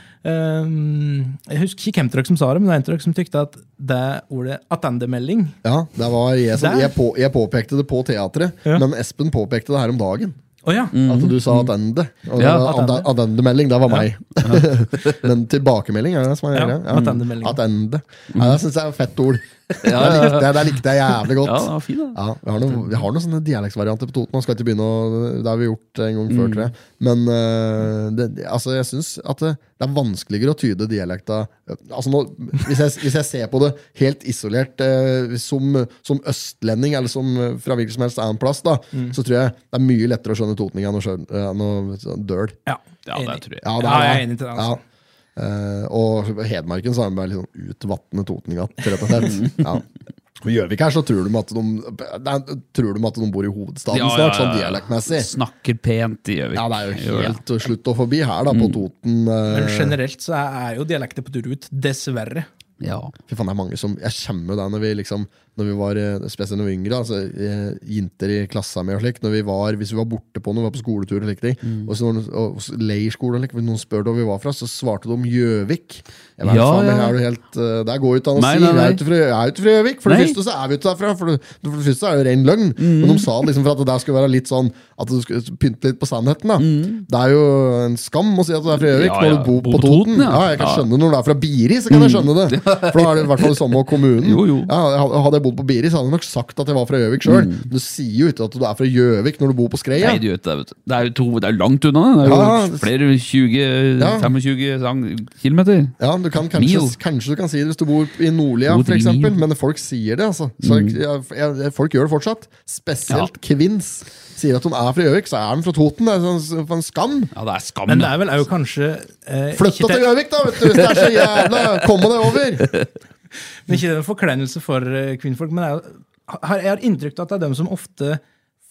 C: Ehm, jeg husker ikke hvem av dere som sa det, men det er en av dere som tykte at det ordet attendemelding
A: Ja, det var jeg, som,
C: Der.
A: jeg, på, jeg påpekte det på teatret,
C: Ja.
A: men Espen påpekte det her om dagen.
C: Å ja!
A: At du sa attende. Og
B: Mm. Ja,
A: det var
C: attende.
A: atten- attendemelding, det var meg. men tilbakemelding er det som er
C: Ja,
A: greia.
C: attendemelding.
A: Attende. Ja, det syns jeg er et fett ord.
B: Mm. Ja,
A: Det
B: ja, ja.
A: likte jeg, det likte jeg jævlig
B: ja,
A: godt.
B: det var fint, da.
A: Ja, vi, har noen, vi har noen sånne dialektsvarianter på Toten. Man skal ikke begynne å, Det har vi gjort en gang før, tror jeg. Men eh, det, altså, jeg syns at det, det er vanskeligere å tyde dialekta altså, nå, hvis, jeg, hvis jeg ser på det helt isolert eh, som, som østlending, eller som eh, fra hvilken som helst annen plass, da, så tror jeg det er mye lettere å skjønne totning enn å skjønne enn å sånn døl.
C: ja,
B: Ja, det
C: enig.
B: tror jeg.
A: Ja, det
C: Ja,
A: er
C: jeg
A: det.
C: er enig til det,
A: Ja.
C: altså.
A: Eh, og Hedmarken så har de bare litt sånn utvatnet Totningat, rett og slett. Ja. Og Gjøvik her, så tror de, at de, nei, tror de at de bor i hovedstaden
B: Ja, ja,
A: snart, sånn
B: ja, ja.
A: dialektmessig.
B: Snakker pent i Gjøvik.
A: Ja, det er jo
B: Gjør det.
A: helt slutt og forbi her, da, på Toten. eh,
C: Mm. Men generelt så er jo dialekter på tur ut,
A: Mm.
C: dessverre.
B: Ja.
A: Fy faen, det er mange som Jeg kommer jo der når vi liksom Når vi var eh, Spesielt når vi var yngre, altså eh, jenter i klassa mi og slik, når vi var, hvis vi var borte på noe, var på skoletur og slike ting,
B: Mm.
A: og så når, og, og leirskole og slik, hvis noen spurte hvor vi var fra, så svarte de om Gjøvik. Jeg vet,
B: Ja,
A: faen, men
B: ja.
A: er du helt eh, Der går jo ikke an å
B: Nei,
A: si.
B: nei,
A: Jeg
B: nei.
A: er ikke fra- jeg er jo ikke fra Gjøvik. For det
B: Nei. Mm.
A: første så er vi ikke derfra. For det, for det første er det jo ren løgn. Men de sa det liksom for at det der skulle være litt sånn At du skulle pynte litt på sannheten. da Det er jo en skam å si at du er fra Gjøvik
B: Mm. Ja,
A: når
B: ja.
A: du bor på, Toten. Ja. jeg kan
B: Ja.
A: skjønne når du er fra Biri, så kan jeg skjønne det. For da er det i hvert fall det samme kommunen.
B: Jo, jo.
A: Ja, hadde- hadde jeg bodd på Biri, så hadde jeg nok sagt at jeg var fra Gjøvik sjøl. Du sier jo ikke at du er fra Gjøvik når du bor på Skreia.
B: Nei, du vet det, vet du. Det er jo to, det er jo langt unna, det. Det er jo
A: Ja, det-
B: flere 20,
A: Ja.
B: 25 sang- kilometer.
A: Ja, du kan
B: Mil.
A: kanskje, kanskje du kan si det hvis du bor i Nordlia,
B: To,
A: for
B: tre
A: eksempel,
B: mil.
A: men folk sier det. altså så, jeg, jeg, Folk gjør det fortsatt. Spesielt kvinns. Sier at hun er fra Gjøvik, så er hun fra Toten. Det er sånn, for en skam!
B: Ja, det er skam.
C: Men det
B: det.
C: er vel òg kanskje eh,
A: Flytta
C: ikke
A: til Gjøvik, da, vet du, hvis det er så jævla Komme deg over!
C: Men ikke det er en forkleinelse for eh, kvinnfolk, men jeg har, jeg har inntrykk av at det er dem som ofte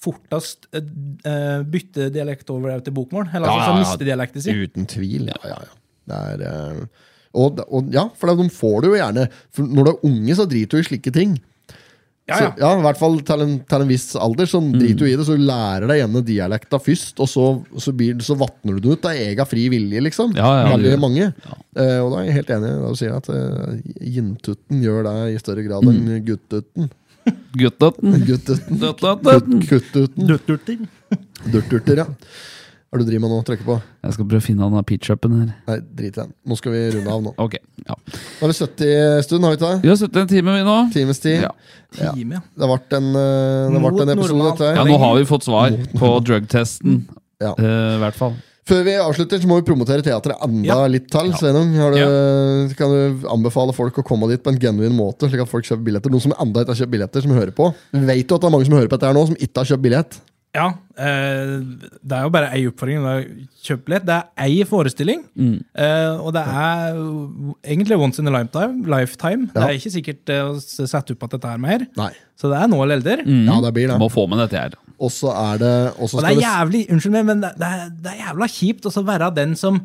C: fortest eh, eh, bytter dialekt over til bokmål. Eller
A: Ja,
C: altså,
A: ja,
C: som
A: ja.
C: mister dialekten sin.
A: Uten tvil, ja, ja, ja. Det er, eh, og, og ja, for det- de får det jo gjerne. For når du er unge, så driter du i slike ting.
C: Ja,
A: Så,
C: ja.
A: ja, I hvert fall til en, til en viss alder,
B: Mm.
A: så driter du i det. Så du lærer deg gjerne dialekta først, og så, så, blir, så vatner du det ut av egen fri vilje, liksom.
B: Ja, ja,
A: Veldig
B: du-
A: mange. Eh, og da er jeg helt enig i det du sier, at eh, jintutten gjør det i større grad
B: Mm.
A: enn guttutten.
B: Guttaten.
A: Guttutten.
B: Guttaten.
A: Kuttuten.
C: Dutturting.
A: Durturter, ja. Hva er det du driver med nå? Trykker på?
B: Jeg skal prøve å finne den pitch-upen her.
A: Nei, drit i den. Nå skal vi runde av nå.
B: Ok, ja.
A: Nå er det 70 stund, har vi ikke det?
B: Vi har sittet en time, vi nå.
A: Times tid.
B: Ja.
A: Ja.
C: Time, ja.
A: Det ble en, eh, det ble en
C: Mot
A: episode,
C: normalt.
A: dette her.
B: ja, nå har vi fått svar på drugtesten.
A: Ja.
B: Eh, I hvert fall.
A: Før vi avslutter, så må vi promotere teatret enda
C: Ja.
A: litt til. Sveinung, har du, kan du anbefale folk å komme dit på en genuin måte, slik at folk kjøper billetter? Noen som enda ikke har kjøpt billetter, som hører på. Vi vet jo at det er mange som hører på dette her nå, som ikke har kjøpt billett.
C: Ja, eh, det er jo bare ei oppfordring. Det er kjøpelett. Det er ei forestilling.
A: Mm.
C: eh, og det er jo egentlig once in a lifetime. lifetime.
A: Ja.
C: Det er ikke sikkert eh, å s- sette opp at dette er mer.
A: Nei. Mm.
C: Så det er nå eller elder.
A: Ja, det blir
B: Mm. Må
A: det.
B: få med dette her.
A: Og så er det og så
C: Og
A: skal
C: det er
A: det s-
C: jævlig unnskyld meg, men det, det, er, det er jævla kjipt å så være den som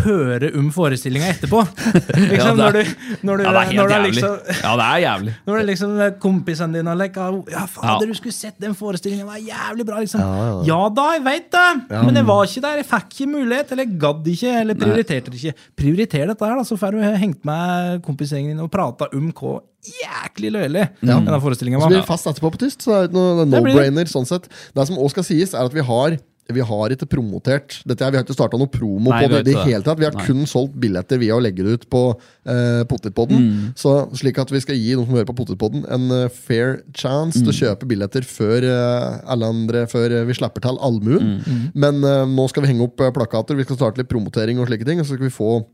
C: hører om forestillinga etterpå.
B: Ja,
C: Liksom,
B: det er-
C: når du, når du,
B: Ja, det er
C: når
B: helt
C: du
B: jævlig.
C: liksom
B: Ja, det er jævlig.
C: når det liksom eh, kompisene dine like, «Au, Ja, fader,
B: Ja.
C: du skulle sett den forestillingen, den var jævlig bra. liksom.
A: Ja, ja,
C: Ja,
A: ja.
C: da, jeg veit det, men jeg var ikke der. Jeg fikk ikke mulighet, eller jeg gadd ikke, eller prioriterte det ikke. Prioriter dette her, da, så får du hengt med kompisgjengen din og prata om hva jæklig løyelig denne forestillingen
A: Så
C: var.
A: blir det fast etterpå på tyst, så det er ikke noe
C: Det blir det.
A: no-brainer. sånn sett. Det som også skal sies, er at vi har vi har ikke promotert dette. her, Vi har ikke starta noe promo
B: Nei, vi
A: på det.
B: har
A: i
B: ikke
A: det
B: det.
A: hele tatt. Vi har
B: Nei.
A: kun solgt billetter via å legge det ut på eh, Potetpodden.
C: Mm.
A: Så slik at vi skal gi de som hører på Potetpodden, en eh, fair chance til å
C: Mm.
A: kjøpe billetter før eh, alle andre, før eh, vi slipper til allmuen.
C: Mm,
A: Men eh, nå skal vi henge opp eh, plakater, vi skal starte litt promotering og slike ting. Og så skal vi få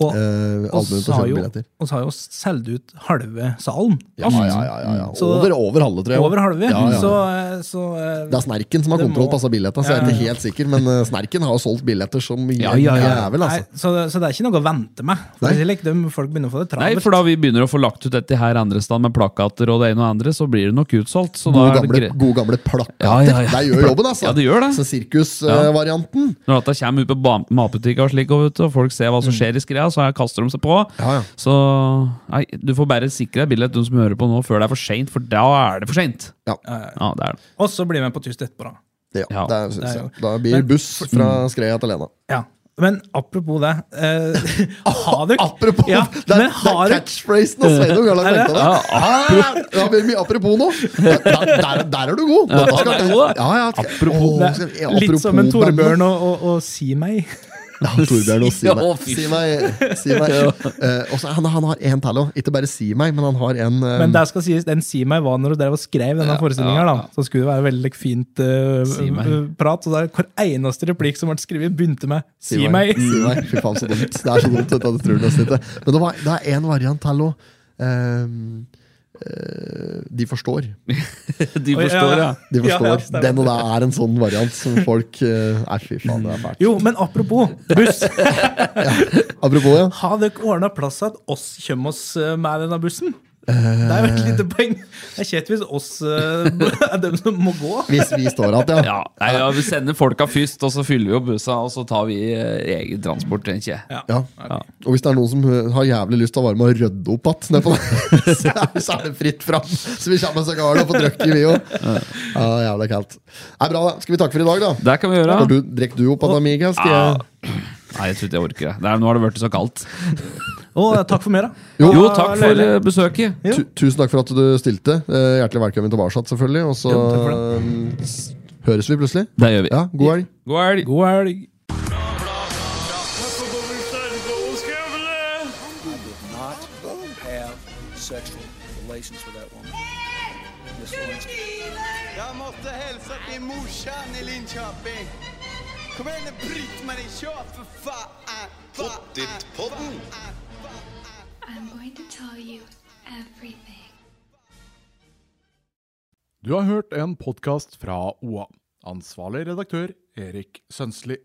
C: Og,
A: eh, allmuen
C: og
A: til å
C: så har
A: kjøpe
C: jo,
A: billetter.
C: og så har jo solgt ut halve salen.
A: Ja, ja, ja, ja, ja.
C: Så-
A: over, over halve, tror jeg.
C: Over halve.
A: Ja, ja, ja.
C: Så, eh, så eh,
A: Det er Snerken som har
C: Det
A: kontroll
C: må-
A: på disse billettene, så jeg er
C: Ja,
A: ikke
C: ja.
A: helt sikker. Men eh, Snerken har jo solgt billetter som
B: Ja, ja, ja.
A: jævel, altså.
C: Nei, så, så det er ikke noe å vente med. For
A: Nei.
C: å si det, de, folk begynner å få det
B: Nei,
C: travelt.
B: for da vi begynner å få lagt ut dette her andre stand med plakater og det ene og det andre, så blir det nok utsolgt. Så da
A: Gode
B: er det
A: gamle,
B: greit.
A: gode gamle plakater.
B: Ja, ja, ja.
A: Det gjør jobben, altså.
B: Ja, det gjør det.
A: Så sirkusvarianten.
B: Når dette kommer ut på ba- matbutikker og slik, og, vet du, og folk ser hva som skjer i skreia, så her kaster de seg på.
A: Ja, ja.
B: Så nei, du får bare sikre deg billett, du som hører på nå, før det er for seint, for da er det for seint.
A: Ja.
B: ja, det er det.
C: Og så blir vi med på tyst etterpå, da.
A: Ja,
B: Ja,
A: det er, synes
C: det er
A: jeg.
C: jo-
A: Da blir det
C: Men-
A: buss fra Skreia til Lena.
C: Ja. Men apropos det eh, Har dere
A: Apropos!
C: ja,
A: det er,
C: men
A: det
C: har
A: er
C: dere
A: catchphrasen og Sveinung har lagt
C: Er det?
A: merke til det. Ah, Det blir mye apropos nå. Der, der, der- der er du god. Dette skal-
B: der er du god, da.
A: Ja, ja, skal-
B: Apropos.
A: Åh, skal- ja,
C: Litt som en
A: apropos bandet.
C: Torbjørn og, og, og si meg.
A: Ja, Torbjørn og si
B: Ja,
A: meg.
B: å, fy.
A: Si meg, si meg. Eh, også, han, han har én til òg. Ikke bare si meg, men han har en eh,
C: Men det skal sies, den si meg var når du drev og skrev denne forestillinga. da Så skulle det være veldig fint eh,
B: Si meg.
C: eh, prat. Og der, hver eneste replikk som ble skrevet, begynte med 'si,
A: si
C: meg'.
A: Si meg. Mm. Fy faen, så dumt. Det er så dumt. Dette, det tror du nesten ikke. Men det, var, det er én variant til òg. de forstår.
B: De forstår, ja.
A: De forstår.
C: Ja, ja, stemmer.
A: Den og det er en sånn variant som folk eh, Nei, fy faen, det er fælt.
C: Jo, men apropos buss.
A: Apropos, ja.
C: Har dere ordna plass til at oss kommer oss eh, med denne bussen? Det er jo
B: Eh.
C: et lite poeng. Det er kjedelig hvis oss eh, er dem som må gå.
A: Hvis vi står igjen, ja.
B: Ja, nei, ja, Vi sender folka først, og så fyller vi opp bussa, og så tar vi eh, egen transport. tenker jeg.
A: Ja. Og hvis det er noen som eh, har jævlig lyst til å være med og rydde opp igjen, nedpå der, så er- så er det fritt fram. Så vi kommer oss av gårde og får drukket, vi òg. Ja, jævlig kaldt. Nei, bra, da. Skal vi takke for i dag, da?
B: Det kan vi gjøre.
A: Har du, drikker du opp av Amiga? Skal
B: Ja.
A: jeg
B: Nei, jeg tror ikke jeg orker det. Nei, Nå har det blitt så kaldt.
C: Og eh, takk for meg, da.
B: Jo,
C: Ja,
B: takk for
C: Leile.
B: eh, besøket.
C: Ja.
A: Tu- Tusen takk for at du stilte. Eh, Hjertelig velkommen tilbake, selvfølgelig. Og så
C: takk for
A: eh, s- høres vi plutselig.
B: Det gjør vi.
A: Ja, god helg.
B: God helg.
C: God helg.
D: Not have sexual relations with that woman. Miss Lewinsky.
E: Jag måste hälsa till morsan i Linköping. Kom igen nu Britt-Marie, kör för fan! Pottitpodden!
F: I'm going to tell you everything.
I: Du har hørt en podkast fra OA. Ansvarlig redaktør Erik Sønsli.